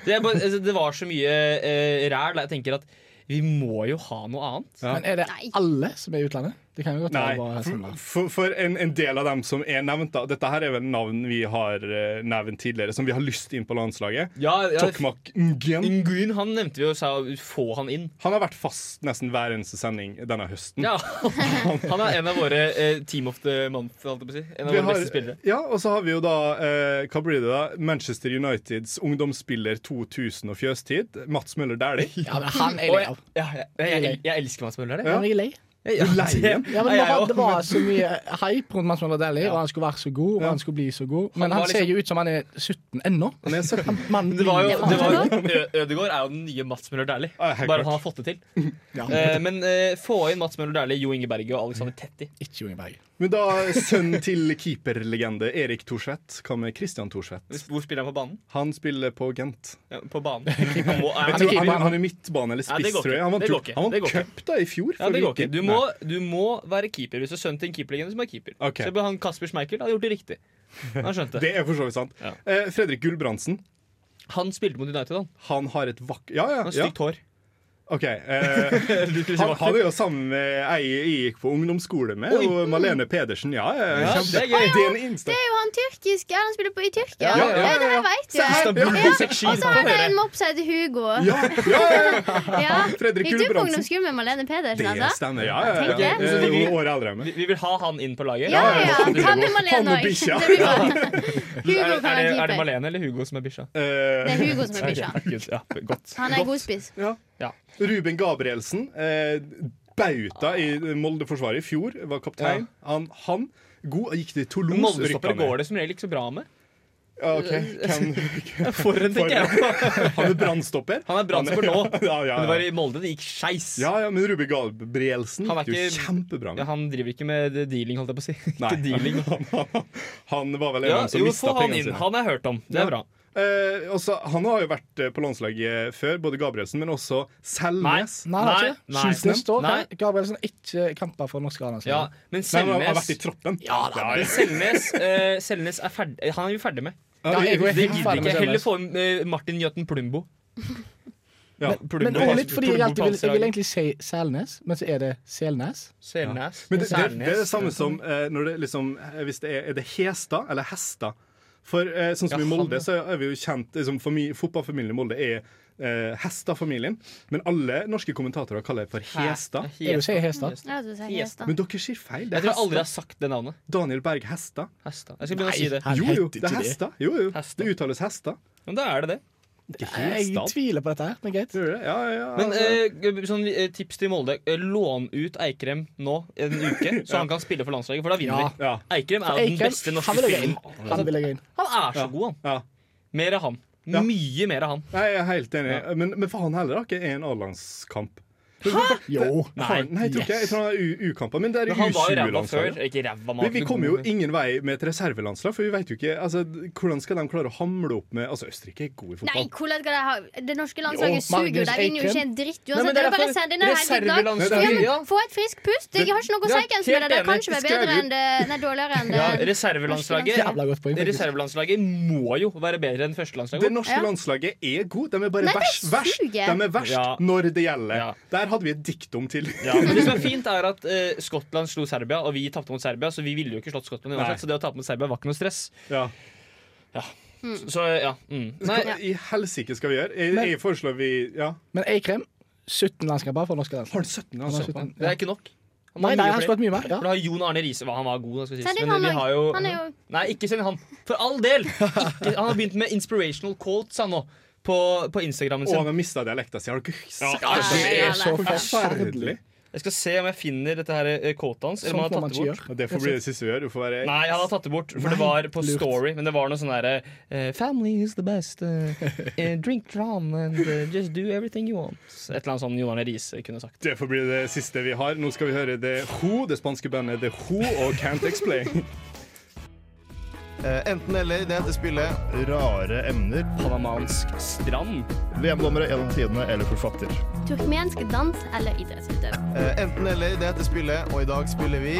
[SPEAKER 5] Det, er bare, altså, det var så mye eh, ræl. Jeg tenker at vi må jo ha noe annet.
[SPEAKER 4] Men er det
[SPEAKER 2] Nei.
[SPEAKER 4] alle som er i utlandet? Det kan jo godt være
[SPEAKER 1] Nei,
[SPEAKER 4] bare
[SPEAKER 1] for,
[SPEAKER 4] sånn.
[SPEAKER 1] for, for en, en del av dem som er nevnt, da. Dette her er vel navn vi har eh, nevnt tidligere, som vi har lyst inn på landslaget.
[SPEAKER 5] Ja,
[SPEAKER 1] Tokmak Nguyen.
[SPEAKER 5] Nguyen han nevnte vi og sa få han inn.
[SPEAKER 1] Han har vært fast nesten hver eneste sending denne høsten.
[SPEAKER 5] Ja, Han er en av våre eh, Team of the Month, holdt jeg på å si. En av
[SPEAKER 1] Vi
[SPEAKER 5] våre
[SPEAKER 1] har-
[SPEAKER 5] beste spillere.
[SPEAKER 1] Ja, og så har vi jo da eh, hva blir det da? Manchester Uniteds ungdomsspiller 2000 og fjøstid, Mats Møller Dæhlie.
[SPEAKER 4] Ja, men han er
[SPEAKER 5] Og
[SPEAKER 4] lei
[SPEAKER 5] jeg,
[SPEAKER 4] av.
[SPEAKER 5] ja, jeg, jeg, jeg, jeg elsker Mats Møller. jeg.
[SPEAKER 4] Han er lei.
[SPEAKER 5] Jeg Ja,
[SPEAKER 1] Du leier
[SPEAKER 5] det
[SPEAKER 1] den.
[SPEAKER 4] Ja, men det
[SPEAKER 5] er jeg
[SPEAKER 4] var,
[SPEAKER 5] også.
[SPEAKER 4] det var så mye hype rundt Mads Møller Dæhlie, og han skulle være så god, og
[SPEAKER 1] Ja.
[SPEAKER 4] han skulle bli så god. Men
[SPEAKER 5] var liksom-
[SPEAKER 4] han ser jo ut som han er 17 ennå.
[SPEAKER 1] Han er 17.
[SPEAKER 4] Mannen
[SPEAKER 5] Det var jo,
[SPEAKER 4] blir-
[SPEAKER 5] det var jo Ø- Ødegaard er jo den nye Mats Møller Dæhlie.
[SPEAKER 1] Ja, helt
[SPEAKER 5] Bare
[SPEAKER 1] klart.
[SPEAKER 5] at han har fått det til. Eh, men eh, få inn Mats Møller Dæhlie, Jo Inge Berge og Alexander Tetti.
[SPEAKER 4] Ikke Unge Berg.
[SPEAKER 1] Men da sønnen til keeperlegende Erik Thorsvedt. Hva med Christian Thorsvedt?
[SPEAKER 5] Hvor spiller han på banen?
[SPEAKER 1] Han spiller på Gent.
[SPEAKER 5] Ja, på banen. Han må, er
[SPEAKER 1] Jeg
[SPEAKER 5] han
[SPEAKER 1] tror
[SPEAKER 5] keeper?
[SPEAKER 1] han, han er midtbane eller
[SPEAKER 5] Ja, det
[SPEAKER 1] spiss,
[SPEAKER 5] går
[SPEAKER 1] tror jeg.
[SPEAKER 5] ikke.
[SPEAKER 1] Han vant,
[SPEAKER 5] Det går
[SPEAKER 1] jo-
[SPEAKER 5] ikke.
[SPEAKER 1] han
[SPEAKER 5] Det
[SPEAKER 1] vant
[SPEAKER 5] går ikke.
[SPEAKER 1] cup da i fjor.
[SPEAKER 5] Ja, det
[SPEAKER 1] for
[SPEAKER 5] går ikke.
[SPEAKER 1] Viking.
[SPEAKER 5] Du må, du må være keeper hvis du er sønnen til en keeperlegende som er keeper.
[SPEAKER 1] Ok.
[SPEAKER 5] Så han Kasper Schmeichel har gjort det riktig. Han skjønte
[SPEAKER 1] Det er for så vidt sant.
[SPEAKER 5] Ja.
[SPEAKER 1] Eh, Fredrik Gulbrandsen.
[SPEAKER 5] Han spilte mot United, han.
[SPEAKER 1] Han har et vakk... Ja, ja.
[SPEAKER 5] Han har
[SPEAKER 1] ja.
[SPEAKER 5] stygt hår.
[SPEAKER 1] OK. Eh,
[SPEAKER 5] Du skulle si
[SPEAKER 1] han, han
[SPEAKER 5] vakker.
[SPEAKER 1] er jo sammen med ei jeg gikk på ungdomsskole med,
[SPEAKER 5] Oi.
[SPEAKER 1] og Malene Pedersen. Ja, ja,
[SPEAKER 5] Ja,
[SPEAKER 1] kjempe-
[SPEAKER 5] det er gøy.
[SPEAKER 1] Det er en insta.
[SPEAKER 2] Det er jo han tyrkisk Ja, han spiller på i Tyrkia. Ja,
[SPEAKER 1] Ja, ja, ja,
[SPEAKER 2] Det
[SPEAKER 1] ja.
[SPEAKER 2] vet
[SPEAKER 1] Se her.
[SPEAKER 2] jeg.
[SPEAKER 5] Istanbul,
[SPEAKER 2] Ja,
[SPEAKER 5] seksjon,
[SPEAKER 2] Og så har
[SPEAKER 5] kan
[SPEAKER 2] jeg
[SPEAKER 5] dere.
[SPEAKER 2] en mops som heter Hugo.
[SPEAKER 1] Ja, ja, ja, ja.
[SPEAKER 2] Ja.
[SPEAKER 1] Fredrik
[SPEAKER 2] Gikk du på
[SPEAKER 1] Gulbrandsen.
[SPEAKER 2] ungdomsskolen med Malene Pedersen?
[SPEAKER 1] Det
[SPEAKER 2] Altså?
[SPEAKER 1] stemmer. Ja, ja,
[SPEAKER 2] Tenk
[SPEAKER 1] ja.
[SPEAKER 2] det.
[SPEAKER 1] Eh, hun er Året eldre enn meg.
[SPEAKER 5] Vi, vi vil ha han inn på laget.
[SPEAKER 2] Ja, ja,
[SPEAKER 1] Han
[SPEAKER 2] ja. Ta med
[SPEAKER 1] Han og
[SPEAKER 2] Malene òg.
[SPEAKER 1] bikkja.
[SPEAKER 5] Er,
[SPEAKER 2] Hugo kan
[SPEAKER 5] det- er, det- er
[SPEAKER 2] være
[SPEAKER 5] det
[SPEAKER 2] keeper.
[SPEAKER 5] Malene eller Hugo som er bikkja?
[SPEAKER 2] Det
[SPEAKER 1] Eh,
[SPEAKER 2] er Hugo som er bikkja.
[SPEAKER 5] Herregud, Ja, godt.
[SPEAKER 2] Han er godspiss.
[SPEAKER 1] ja.
[SPEAKER 5] Ja.
[SPEAKER 1] Ruben Gabrielsen. Eh, bauta i Molde-forsvaret i fjor, var kaptein. Han, han god, gikk til Toulouse.
[SPEAKER 5] Moldestoppere
[SPEAKER 1] rykket ned.
[SPEAKER 5] går det som regel ikke så bra med.
[SPEAKER 1] Ja, ok. Hvem-
[SPEAKER 5] For en, tenker jeg.
[SPEAKER 1] Han er brannstopper.
[SPEAKER 5] Han er brannstopper nå,
[SPEAKER 1] Ja, ja,
[SPEAKER 5] Men det var
[SPEAKER 1] ja.
[SPEAKER 5] i Molde det gikk skeis.
[SPEAKER 1] ja, ja, men Ruben Gabrielsen
[SPEAKER 5] Han er
[SPEAKER 1] gikk jo
[SPEAKER 5] ikke-
[SPEAKER 1] kjempebra.
[SPEAKER 5] Ja,
[SPEAKER 1] med.
[SPEAKER 5] han driver ikke med dealing, holdt jeg på å si.
[SPEAKER 1] Nei.
[SPEAKER 5] Ikke dealing.
[SPEAKER 1] Han, han, han var vel en av
[SPEAKER 5] Ja,
[SPEAKER 1] dem som
[SPEAKER 5] jo,
[SPEAKER 1] mista
[SPEAKER 5] få han
[SPEAKER 1] pengene
[SPEAKER 5] inn.
[SPEAKER 1] sine.
[SPEAKER 5] Han har jeg hørt om. Det er
[SPEAKER 1] Ja.
[SPEAKER 5] bra.
[SPEAKER 1] Eh, også, han har jo vært eh, på landslaget før, både Gabrielsen, men også Selnes.
[SPEAKER 4] Nei, det er ikke
[SPEAKER 5] Nei,
[SPEAKER 4] det. Det
[SPEAKER 5] nei.
[SPEAKER 4] står
[SPEAKER 5] Nei.
[SPEAKER 4] her. Gabrielsen har ikke kamper for norske a
[SPEAKER 5] Ja,
[SPEAKER 1] Nei, men han
[SPEAKER 5] men
[SPEAKER 1] har
[SPEAKER 5] Selnes
[SPEAKER 1] vært i troppen.
[SPEAKER 4] Ja, da,
[SPEAKER 1] ja.
[SPEAKER 5] Selnes, eh, Selnes er ferdig Han er vi ferdig med.
[SPEAKER 4] Ja, jeg er
[SPEAKER 5] Det
[SPEAKER 4] helt
[SPEAKER 5] gidder
[SPEAKER 4] ferdig med
[SPEAKER 5] ikke. Heller
[SPEAKER 4] Selnes.
[SPEAKER 5] få inn eh, Martin Jøten Plumbo.
[SPEAKER 1] Ja.
[SPEAKER 4] Men det var litt fordi jeg alltid vil, jeg vil egentlig si Selnes, men så er det Selnes.
[SPEAKER 5] Selnes.
[SPEAKER 1] Men det, det,
[SPEAKER 5] Selnes.
[SPEAKER 1] det er det samme som eh, når det liksom, eh, hvis det er, er det hesta eller hesta. For eh, sånn som
[SPEAKER 5] Ja,
[SPEAKER 1] i
[SPEAKER 5] han, ja.
[SPEAKER 1] Molde, så er vi jo kjent liksom, fami- Fotballfamilien i Molde er eh, hesta-familien. Men alle norske kommentatorer kaller det for hesta.
[SPEAKER 4] Er det å si Hestad?
[SPEAKER 2] Ja, du sier hest, da.
[SPEAKER 1] Men dere sier feil. Det
[SPEAKER 5] Jeg
[SPEAKER 1] er
[SPEAKER 5] tror jeg aldri
[SPEAKER 1] hesta.
[SPEAKER 5] har sagt det navnet.
[SPEAKER 1] Daniel Berg Hesta.
[SPEAKER 5] Hesta. Jeg skal begynne å si det.
[SPEAKER 4] han
[SPEAKER 1] Jo, jo, det
[SPEAKER 4] heter
[SPEAKER 1] er
[SPEAKER 4] ikke
[SPEAKER 1] hesta. Jo, jo.
[SPEAKER 5] Hesta.
[SPEAKER 1] Det uttales hesta.
[SPEAKER 5] Men da er det det.
[SPEAKER 1] Ikke
[SPEAKER 4] Jeg
[SPEAKER 1] hesta.
[SPEAKER 4] tviler på dette her, men greit.
[SPEAKER 1] Gjør det? Ja, ja, ja.
[SPEAKER 5] Men
[SPEAKER 1] altså.
[SPEAKER 5] eh, sånn, eh, tips til Molde. Eh, Lån ut Eikrem nå en uke, så han kan spille for landslaget, for da vinner
[SPEAKER 4] Ja.
[SPEAKER 5] vi.
[SPEAKER 1] ja,
[SPEAKER 5] Eikrem er jo den
[SPEAKER 4] Eikrem,
[SPEAKER 5] beste norske
[SPEAKER 4] han vil jeg inn.
[SPEAKER 5] spilleren. Altså,
[SPEAKER 4] Han vil jeg inn.
[SPEAKER 5] Han er så god, han.
[SPEAKER 1] ja.
[SPEAKER 5] Mer av han.
[SPEAKER 1] Ja.
[SPEAKER 5] Mye mer av han.
[SPEAKER 1] Nei, jeg er helt enig. Men, men for han heller har ikke en A-landskamp.
[SPEAKER 4] Jo.
[SPEAKER 1] Nei, nei jeg tror ikke jeg. Jeg tror han har u- U-kamper. Men det er
[SPEAKER 5] Men han var jo ræva
[SPEAKER 1] U20-landslaget.
[SPEAKER 5] før. Ikke ræva,
[SPEAKER 1] Vi,
[SPEAKER 5] men
[SPEAKER 1] vi kommer jo ingen vei med et reservelandslag, for vi vet jo ikke altså, d- Hvordan skal de klare å hamle opp med Altså, Østerrike er gode i
[SPEAKER 2] Nei,
[SPEAKER 1] fotball.
[SPEAKER 2] hvordan skal de ha Det norske landslaget
[SPEAKER 4] Jo,
[SPEAKER 2] suger jo.
[SPEAKER 4] Magnus
[SPEAKER 2] De vinner jo
[SPEAKER 4] Eikrem.
[SPEAKER 2] ikke en dritt
[SPEAKER 5] Nei,
[SPEAKER 2] uansett.
[SPEAKER 5] men
[SPEAKER 2] det er
[SPEAKER 5] derfor-
[SPEAKER 2] bare å sende denne her hele dagen.
[SPEAKER 5] reservelandslaget,
[SPEAKER 2] Ja, men
[SPEAKER 5] ja.
[SPEAKER 2] Få et friskt pust. Jeg har ikke noe å
[SPEAKER 5] Ja,
[SPEAKER 2] si hvem som er
[SPEAKER 5] helt
[SPEAKER 2] det. Det
[SPEAKER 5] enig.
[SPEAKER 2] kan ikke være bedre enn det Nei, dårligere enn eh, det.
[SPEAKER 5] Ja, reservelandslaget
[SPEAKER 4] Jævla godt poeng, faktisk.
[SPEAKER 5] Reservelandslaget må jo være bedre enn
[SPEAKER 1] Det
[SPEAKER 5] førstelandslaget.
[SPEAKER 1] norske
[SPEAKER 2] Ja.
[SPEAKER 1] landslaget er gode. De er bare
[SPEAKER 2] Nei, det
[SPEAKER 1] verst, verst.
[SPEAKER 2] suger.
[SPEAKER 1] De er verst
[SPEAKER 5] Ja.
[SPEAKER 1] når det gjelder.
[SPEAKER 5] Ja.
[SPEAKER 1] Der hadde vi et diktum til.
[SPEAKER 5] Ja. men Det som er fint, er at eh, Skottland slo Serbia, og vi tapte mot Serbia, så vi ville jo ikke slått Skottland
[SPEAKER 1] Nei.
[SPEAKER 5] uansett, så det å tape mot Serbia var ikke noe stress.
[SPEAKER 1] Ja.
[SPEAKER 5] Så ja. Mm. Nei,
[SPEAKER 1] Hva i helsike skal vi gjøre? Jeg,
[SPEAKER 4] Men-
[SPEAKER 1] jeg foreslår vi ja.
[SPEAKER 4] Men Eikrem 17 landskamper for norske landslag.
[SPEAKER 1] Har han 17?
[SPEAKER 4] Han
[SPEAKER 1] Altså?
[SPEAKER 4] har 17,
[SPEAKER 5] det
[SPEAKER 4] ja.
[SPEAKER 5] er ikke nok. Han
[SPEAKER 4] Nei,
[SPEAKER 5] har
[SPEAKER 4] nei,
[SPEAKER 5] mye
[SPEAKER 4] han
[SPEAKER 5] flere.
[SPEAKER 4] skulle hatt mye mer.
[SPEAKER 5] For
[SPEAKER 4] Ja.
[SPEAKER 5] da har Jon Arne Riise Hva, Han var god, da, skal sies.
[SPEAKER 2] Send inn han
[SPEAKER 5] Men vi
[SPEAKER 2] òg.
[SPEAKER 5] har jo,
[SPEAKER 2] Han er jo
[SPEAKER 5] Nei, ikke send inn han. For all del! Ikke, han har begynt med inspirational quotes han nå, på, på Instagrammen
[SPEAKER 1] Og
[SPEAKER 5] sin.
[SPEAKER 1] han har mista dialekta si. Har dere ikke sett
[SPEAKER 5] Ja,
[SPEAKER 2] Ja,
[SPEAKER 4] Det er så forferdelig.
[SPEAKER 1] Forferdelig.
[SPEAKER 5] Jeg skal se om jeg finner dette her eh, quotet hans. Eller om
[SPEAKER 4] Sånt må
[SPEAKER 5] han har
[SPEAKER 4] Sånn man
[SPEAKER 5] tatt det
[SPEAKER 4] ikke
[SPEAKER 5] bort.
[SPEAKER 4] gjøre.
[SPEAKER 1] Og Det får bli det siste vi gjør. Vi får være
[SPEAKER 5] Nei, han har tatt det bort, for det var på
[SPEAKER 4] lurt.
[SPEAKER 5] Story. Men det var noe sånn derre eh, Family is the best. eh, eh, drink dram and eh, just do everything you want. Et eller annet sånn Jon Arne Riise kunne sagt.
[SPEAKER 1] Det får bli det siste vi har. Nå skal vi høre The Who, det spanske bandet The Who og Can't Explain.
[SPEAKER 9] Eh, enten eller, det heter spillet Rare emner.
[SPEAKER 5] Panamansk strand.
[SPEAKER 9] VM-dommere gjennom tidene eller forfatter.
[SPEAKER 2] turkmensk dans eller idrettsutøver.
[SPEAKER 9] enten eller, det heter spillet, og i dag spiller vi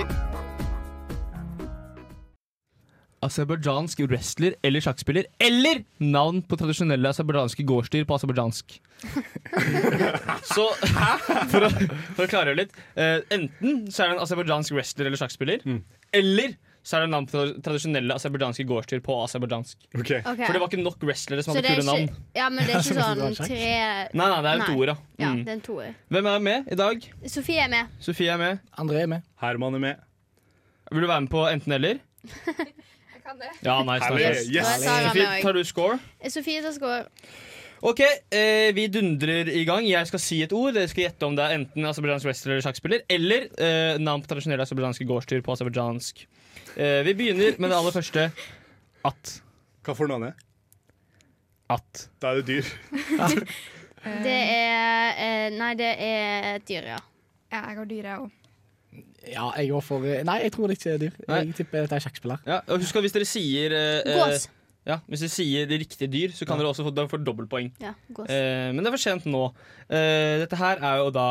[SPEAKER 5] Aserbajdsjansk wrestler eller sjakkspiller. Eller navn på tradisjonelle aserbajdsjanske gårdsdyr på aserbajdsjansk. så for å, for å klargjøre litt. eh, enten så er det en aserbajdsjansk wrestler eller sjakkspiller. Eller så er det navn på tradisjonelle aserbajdsjanske gårdsdyr på aserbajdsjansk.
[SPEAKER 1] Ok.
[SPEAKER 2] Ok.
[SPEAKER 5] For det var ikke sånn nok wrestlere som
[SPEAKER 2] Så
[SPEAKER 5] hadde
[SPEAKER 2] det er
[SPEAKER 5] kule navn.
[SPEAKER 2] ikke, ja, men det er ikke sånn tre
[SPEAKER 5] Nei, nei, det er
[SPEAKER 2] Nei.
[SPEAKER 5] jo toer, ja.
[SPEAKER 2] Ja,
[SPEAKER 5] Mm.
[SPEAKER 2] det er en toer.
[SPEAKER 5] Hvem er med i dag?
[SPEAKER 2] Sofie er med.
[SPEAKER 5] Sofie er med.
[SPEAKER 4] André er med.
[SPEAKER 1] Herman er med.
[SPEAKER 5] Vil du være med på enten-eller? Jeg kan det. Ja, nice,
[SPEAKER 1] Herlig.
[SPEAKER 5] nice.
[SPEAKER 2] Yes.
[SPEAKER 1] Yes.
[SPEAKER 2] Sara er
[SPEAKER 5] Sofie,
[SPEAKER 2] med
[SPEAKER 5] tar du score?
[SPEAKER 2] også. Sofie tar score.
[SPEAKER 5] Ok, eh, vi dundrer i gang. Jeg skal si et ord. Dere skal gjette om det er enten aserbajdsjansk wrestler eller sjakkspiller, eller eh, navn på tradisjonelle aserbajdsjanske gårdsdyr på aserbajdsjansk. Eh, vi begynner med det aller første. At.
[SPEAKER 1] Hva for navn er det?
[SPEAKER 5] At.
[SPEAKER 1] Da er det dyr.
[SPEAKER 2] Det er eh, Nei, det er et dyr, ja.
[SPEAKER 10] Ja, jeg har dyr, jeg òg.
[SPEAKER 4] Ja, jeg går for eh, Nei, jeg tror det ikke er dyr.
[SPEAKER 5] Nei.
[SPEAKER 4] Jeg tipper det er sjakkspiller.
[SPEAKER 5] Ja, og husk at hvis dere sier eh, eh,
[SPEAKER 2] Gås.
[SPEAKER 5] Ja, Hvis dere sier det riktige dyr, så kan dere også få, dere får dobbeltpoeng.
[SPEAKER 2] Ja, gås.
[SPEAKER 5] Eh, men det er for sent nå. Eh, dette her er jo da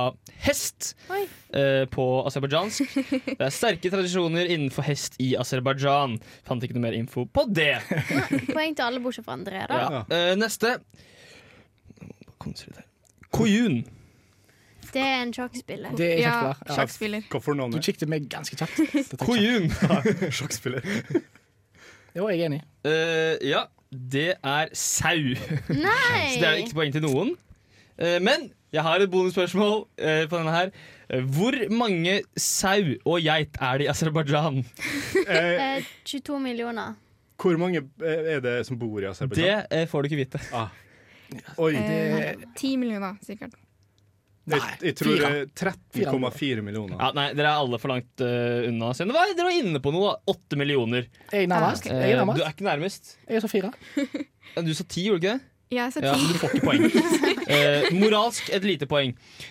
[SPEAKER 5] hest
[SPEAKER 2] Oi.
[SPEAKER 5] eh, på aserbajdsjansk. Det er sterke tradisjoner innenfor hest i Aserbajdsjan. Fant ikke noe mer info på det.
[SPEAKER 2] Poeng til alle bortsett fra André, da.
[SPEAKER 5] Ja. Eh, neste. Nå må jeg bare konsentrere meg. Koyun.
[SPEAKER 2] Det er en sjakkspiller.
[SPEAKER 4] Det er
[SPEAKER 10] Ja,
[SPEAKER 4] sjakkspiller. Ja.
[SPEAKER 10] sjakkspiller.
[SPEAKER 1] Hva for navn
[SPEAKER 4] Du
[SPEAKER 1] er det?
[SPEAKER 4] kikket meg ganske kjapt. Det tar jeg kjapt.
[SPEAKER 5] Koyun.
[SPEAKER 1] Sjakkspiller.
[SPEAKER 4] Jo, jeg er enig.
[SPEAKER 5] Eh, ja, det er sau.
[SPEAKER 2] Nei!
[SPEAKER 5] Så det er jo ikke poeng til noen. Eh, Men jeg har et bonusspørsmål eh, på denne her. Eh, Hvor mange sau og geit er det i Aserbajdsjan?
[SPEAKER 1] Eh,
[SPEAKER 2] Eh, 22 millioner.
[SPEAKER 1] hvor mange eh, er det som bor i
[SPEAKER 5] Det
[SPEAKER 1] Aserbajdsjan? Ah.
[SPEAKER 5] eh, får du ikke vite.
[SPEAKER 1] Oi,
[SPEAKER 10] Eh, Ti millioner, sikkert.
[SPEAKER 1] jeg, jeg tror
[SPEAKER 4] fire.
[SPEAKER 1] eh, 13,4 millioner.
[SPEAKER 5] Ja, nei, Dere er alle for langt eh, unna. Så det var, dere var inne på noe. da. Åtte millioner.
[SPEAKER 4] Jeg er nærmest.
[SPEAKER 10] ok.
[SPEAKER 5] Eh,
[SPEAKER 4] Jeg er
[SPEAKER 5] du
[SPEAKER 4] nærmest.
[SPEAKER 5] er ikke nærmest.
[SPEAKER 4] Jeg er så fire.
[SPEAKER 5] Ja, Du sa ti, gjorde du ikke det?
[SPEAKER 10] Jeg sa
[SPEAKER 5] Ja,
[SPEAKER 10] ti.
[SPEAKER 5] men du får ikke poeng. Eh, moralsk et lite poeng.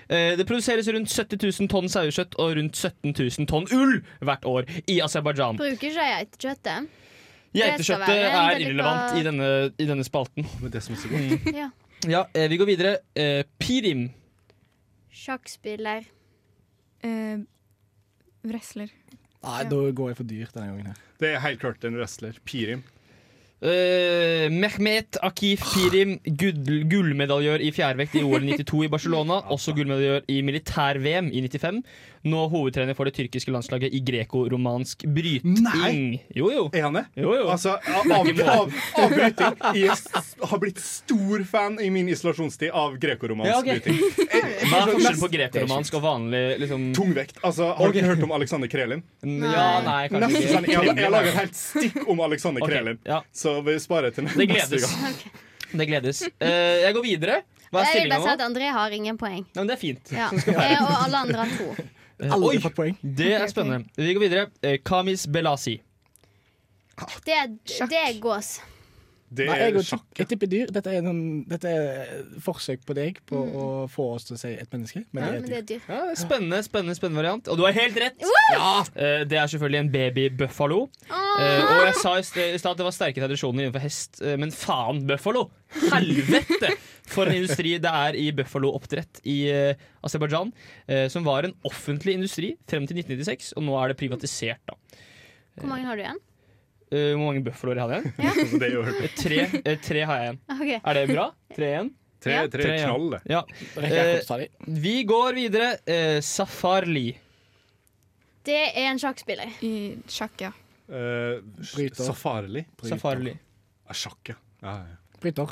[SPEAKER 5] Eh, det produseres rundt 70 000 tonn sauekjøtt og rundt 17 000 tonn ull hvert år i Aserbajdsjan.
[SPEAKER 2] Bruker ikke geitekjøttet. Det skal
[SPEAKER 5] Geitekjøttet
[SPEAKER 2] være en
[SPEAKER 5] er irrelevant
[SPEAKER 2] delikat-
[SPEAKER 5] i denne, i denne spalten.
[SPEAKER 1] Men det som er så godt.
[SPEAKER 2] Ja.
[SPEAKER 5] Ja, eh, vi går videre. Eh, Pirim.
[SPEAKER 2] Sjakkspiller.
[SPEAKER 10] Eh, wrestler.
[SPEAKER 4] Nei, da går jeg for dyr denne gangen her.
[SPEAKER 1] Det er helt klart en wrestler. Pirim.
[SPEAKER 5] Eh, Mehmet Akif Pirim, gull, gullmedaljør i fjærvekt i OL 92 i Barcelona. Også gullmedaljør i militær-VM i 95. Nå hovedtrener for det tyrkiske landslaget i greco-romansk bryting.
[SPEAKER 1] Nei!
[SPEAKER 5] Jo, jo.
[SPEAKER 1] Er han det?
[SPEAKER 5] jo, jo.
[SPEAKER 1] Altså, av, av, av, avbryting. Jeg s- har blitt stor fan i min isolasjonstid av grekoromansk
[SPEAKER 5] Ja, ok.
[SPEAKER 1] bryting.
[SPEAKER 5] Hva er forskjellen på greco-romansk og vanlig liksom
[SPEAKER 1] Tungvekt. Altså, har du hørt om Alexander Krelin?
[SPEAKER 5] Ja, nei, kanskje
[SPEAKER 1] Nesten sånn,
[SPEAKER 5] ikke.
[SPEAKER 1] jeg, har- jeg har laget et helt stikk om Alexander
[SPEAKER 5] Ok,
[SPEAKER 1] Krelin.
[SPEAKER 5] ja.
[SPEAKER 1] Så vi sparer til
[SPEAKER 5] Det
[SPEAKER 1] neste
[SPEAKER 5] gledes.
[SPEAKER 1] gang.
[SPEAKER 5] Det gledes. Eh, jeg går videre. Hva
[SPEAKER 2] Jeg
[SPEAKER 5] er
[SPEAKER 2] vil
[SPEAKER 5] stillinga
[SPEAKER 2] bare si at
[SPEAKER 5] nå?
[SPEAKER 2] André har ingen poeng.
[SPEAKER 5] Ja, men det er fint.
[SPEAKER 2] Ja. Jeg og alle andre har to.
[SPEAKER 5] Eh,
[SPEAKER 4] Alle
[SPEAKER 5] Oi,
[SPEAKER 4] har fått poeng.
[SPEAKER 5] det er spennende. Vi går videre. Eh, Kamis Belasi.
[SPEAKER 2] Det er, det er gås.
[SPEAKER 1] Det
[SPEAKER 4] Nei, jeg,
[SPEAKER 1] er
[SPEAKER 4] går dyr. jeg tipper dyr. Dette er, en, dette er forsøk på deg på å få oss til å si et menneske, men
[SPEAKER 2] Ja,
[SPEAKER 4] det er
[SPEAKER 2] men
[SPEAKER 4] et
[SPEAKER 2] det
[SPEAKER 4] dyr.
[SPEAKER 2] er dyr.
[SPEAKER 5] Ja, spennende, spennende, spennende variant. Og du har helt rett! Eh, det er selvfølgelig en baby-buffalo. Eh,
[SPEAKER 2] Ah.
[SPEAKER 5] og jeg sa i sted i stad at det var sterke tradisjoner innenfor hest, eh, men faen, buffalo! Helvete! For en industri det er i buffalo-oppdrett i uh, Aserbajdsjan. eh, som var en offentlig industri frem til 1996, og nå er det privatisert, da.
[SPEAKER 2] Hvor mange har du igjen?
[SPEAKER 5] Eh, hvor mange buffaloer hadde jeg igjen?
[SPEAKER 1] Altså, Det er jo
[SPEAKER 5] Eh, tre, eh, tre har jeg igjen.
[SPEAKER 2] Ok.
[SPEAKER 5] Er det bra? Tre igjen?
[SPEAKER 1] tre, tre
[SPEAKER 5] Tre, ja.
[SPEAKER 1] knall, det.
[SPEAKER 5] Ja.
[SPEAKER 4] Rekker
[SPEAKER 5] Eh.
[SPEAKER 4] jeg akkurat å ta de?
[SPEAKER 5] Vi går videre. Eh, Safarli.
[SPEAKER 2] Det er en sjakkspiller.
[SPEAKER 10] I sjakk, ja.
[SPEAKER 1] Eh,
[SPEAKER 4] Bryter.
[SPEAKER 1] Safarli.
[SPEAKER 5] Safarli.
[SPEAKER 1] Ah, Sjakk, ja. Ja, ja.
[SPEAKER 4] Bryter.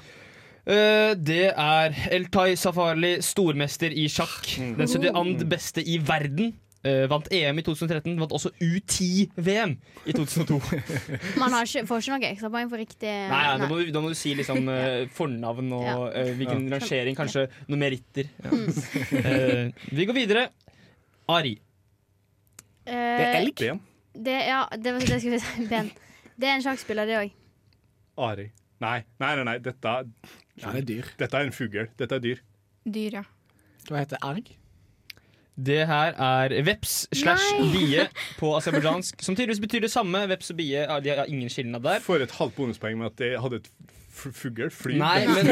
[SPEAKER 5] Eh, det er Eltai Safarli, stormester i sjakk. Den 72. beste i verden. Eh, vant EM i 2013, vant også U10-VM i 2002. Nei,
[SPEAKER 2] Man har ikke, får ikke noe ekstrapoeng for riktig
[SPEAKER 5] nei, Da, må du, da må du si liksom eh, fornavn og
[SPEAKER 2] Ja.
[SPEAKER 5] eh, hvilken rangering, kanskje noen meritter. Eh, vi går videre. Ari.
[SPEAKER 2] Det er elg?
[SPEAKER 1] Ben.
[SPEAKER 2] Eh, Det, ja, det, var- det skulle vi si. Ben. Det er en sjakkspiller, det òg.
[SPEAKER 1] Ari. Nei, nei, nei, nei. Dette,
[SPEAKER 4] Ja, det er dyr.
[SPEAKER 1] dette er en fugl. Dette er dyr.
[SPEAKER 10] Dyr, ja.
[SPEAKER 4] Hva heter arg?
[SPEAKER 5] Det her er veps slash bie på aserbajdsjansk, som tydeligvis betyr det samme. Veps og bie, ja, de har ingen skilnad der.
[SPEAKER 1] Får et halvt bonuspoeng med at jeg hadde et f- fugl. Fly.
[SPEAKER 5] Nei, men,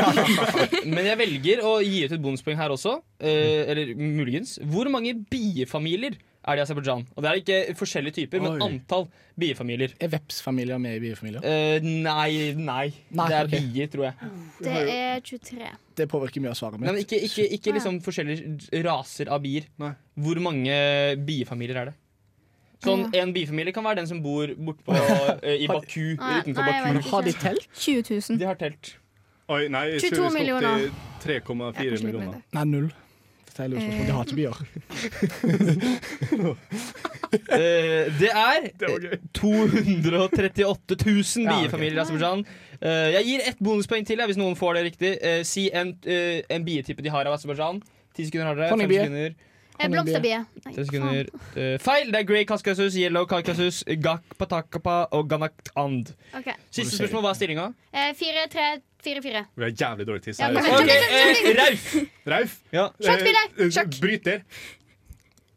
[SPEAKER 5] men jeg velger å gi ut et bonuspoeng her også. Eh, eller muligens. Hvor mange biefamilier er det i Aserbajdsjan? Og det er ikke forskjellige typer, men
[SPEAKER 1] Oi.
[SPEAKER 5] antall biefamilier.
[SPEAKER 4] Er vepsfamilier med i biefamilier?
[SPEAKER 5] Eh, nei, nei,
[SPEAKER 4] Nei,
[SPEAKER 5] Det er
[SPEAKER 4] ok.
[SPEAKER 5] bier, tror jeg.
[SPEAKER 2] Det er 23.
[SPEAKER 4] Det påvirker mye av svaret
[SPEAKER 5] Nei, men
[SPEAKER 4] mitt.
[SPEAKER 5] ikke, ikke, ikke liksom forskjellige raser av bier.
[SPEAKER 1] Nei.
[SPEAKER 5] Hvor mange biefamilier er det? Sånn, En biefamilie kan være den som bor bortpå eh, i Baku.
[SPEAKER 2] Nei,
[SPEAKER 5] eller utenfor
[SPEAKER 2] nei, jeg
[SPEAKER 5] Baku.
[SPEAKER 2] vet
[SPEAKER 4] Har de
[SPEAKER 2] ikke.
[SPEAKER 4] telt?
[SPEAKER 10] 20 000.
[SPEAKER 5] De har telt.
[SPEAKER 1] Oi, nei, jeg
[SPEAKER 2] 22
[SPEAKER 1] tror vi skal opp til
[SPEAKER 2] millioner.
[SPEAKER 10] Jeg
[SPEAKER 1] 3,4
[SPEAKER 10] sliter med
[SPEAKER 1] millioner.
[SPEAKER 10] det.
[SPEAKER 4] Nei, null. Hele Oslo. Det har ikke byer.
[SPEAKER 5] Eh, det er eh, 238 000
[SPEAKER 4] Ja, ok.
[SPEAKER 5] biefamilier i Aserbajdsjan. Eh, jeg gir ett bonuspoeng til jeg, hvis noen får det riktig. Eh, si en, eh, en bietippe de har av Aserbajdsjan. Ti sekunder har dere. Fem
[SPEAKER 4] Honningbie.
[SPEAKER 5] sekunder.
[SPEAKER 2] Eh, Blomsterbie. Nei,
[SPEAKER 5] Tre
[SPEAKER 2] faen.
[SPEAKER 5] sekunder. Eh, feil! Det er Grey Kaskasus, Yellow Kaukasus, Gak Patakapa og Ganakt And.
[SPEAKER 2] Ok.
[SPEAKER 5] Siste spørsmål, hva er stillinga?
[SPEAKER 2] Eh, Fire, tre, fire, fire.
[SPEAKER 1] Vi er jævlig dårlige til
[SPEAKER 2] Ja, men-
[SPEAKER 1] seriøst.
[SPEAKER 5] Ok, eh, Rauf!
[SPEAKER 1] Rauf.
[SPEAKER 5] Ja.
[SPEAKER 2] Sjakkspiller.
[SPEAKER 1] eh,
[SPEAKER 2] Sjakk.
[SPEAKER 1] Bryter.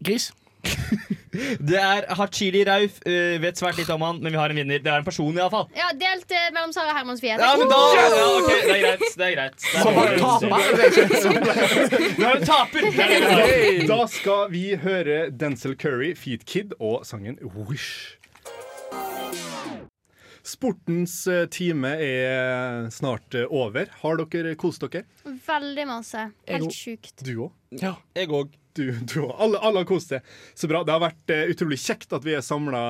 [SPEAKER 4] Gris.
[SPEAKER 5] Det er Hachili Rauf. eh, vet svært litt om han, men vi har en vinner. Det er en person, iallfall.
[SPEAKER 2] Ja, delt eh, mellom Sara og Herman Sofie.
[SPEAKER 5] Ja, men da ja, OK, det er greit. Det er greit. Det er
[SPEAKER 4] Bare taper.
[SPEAKER 5] Vi har en taper! Det er det vi har.
[SPEAKER 1] Da skal vi høre Denzil Curry, Feet Kid og sangen Wish. Sportens eh, time er snart eh, over. Har dere kost dere?
[SPEAKER 2] Veldig masse.
[SPEAKER 4] Ego.
[SPEAKER 2] Helt sjukt.
[SPEAKER 1] Du òg?
[SPEAKER 4] Ja.
[SPEAKER 5] Jeg òg.
[SPEAKER 1] Du, du òg. Alle, alle har kost seg. Så bra. Det har vært eh, utrolig kjekt at vi er samla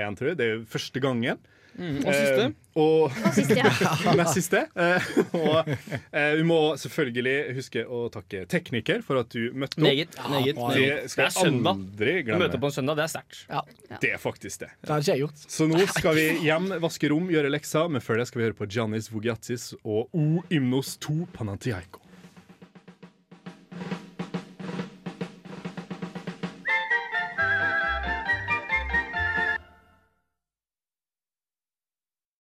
[SPEAKER 1] igjen, tror jeg. Det er jo første gangen.
[SPEAKER 5] Mm, Og siste.
[SPEAKER 1] Eh, og
[SPEAKER 2] Og siste, ja.
[SPEAKER 1] Nest siste. Eh, og eh, vi må selvfølgelig huske å takke tekniker for at du møtte opp.
[SPEAKER 5] Meget. meget, meget.
[SPEAKER 1] Det
[SPEAKER 5] Det
[SPEAKER 1] skal
[SPEAKER 5] er søndag.
[SPEAKER 1] aldri
[SPEAKER 5] Å
[SPEAKER 1] glemme.
[SPEAKER 5] møte på en søndag, det er sterkt.
[SPEAKER 1] Det er faktisk det.
[SPEAKER 4] Det hadde ikke jeg gjort.
[SPEAKER 1] Så nå skal vi hjem, vaske rom, gjøre lekser, men før det skal vi høre på Giannis Vogiatis og O Ymnos 2 Panantiaiko.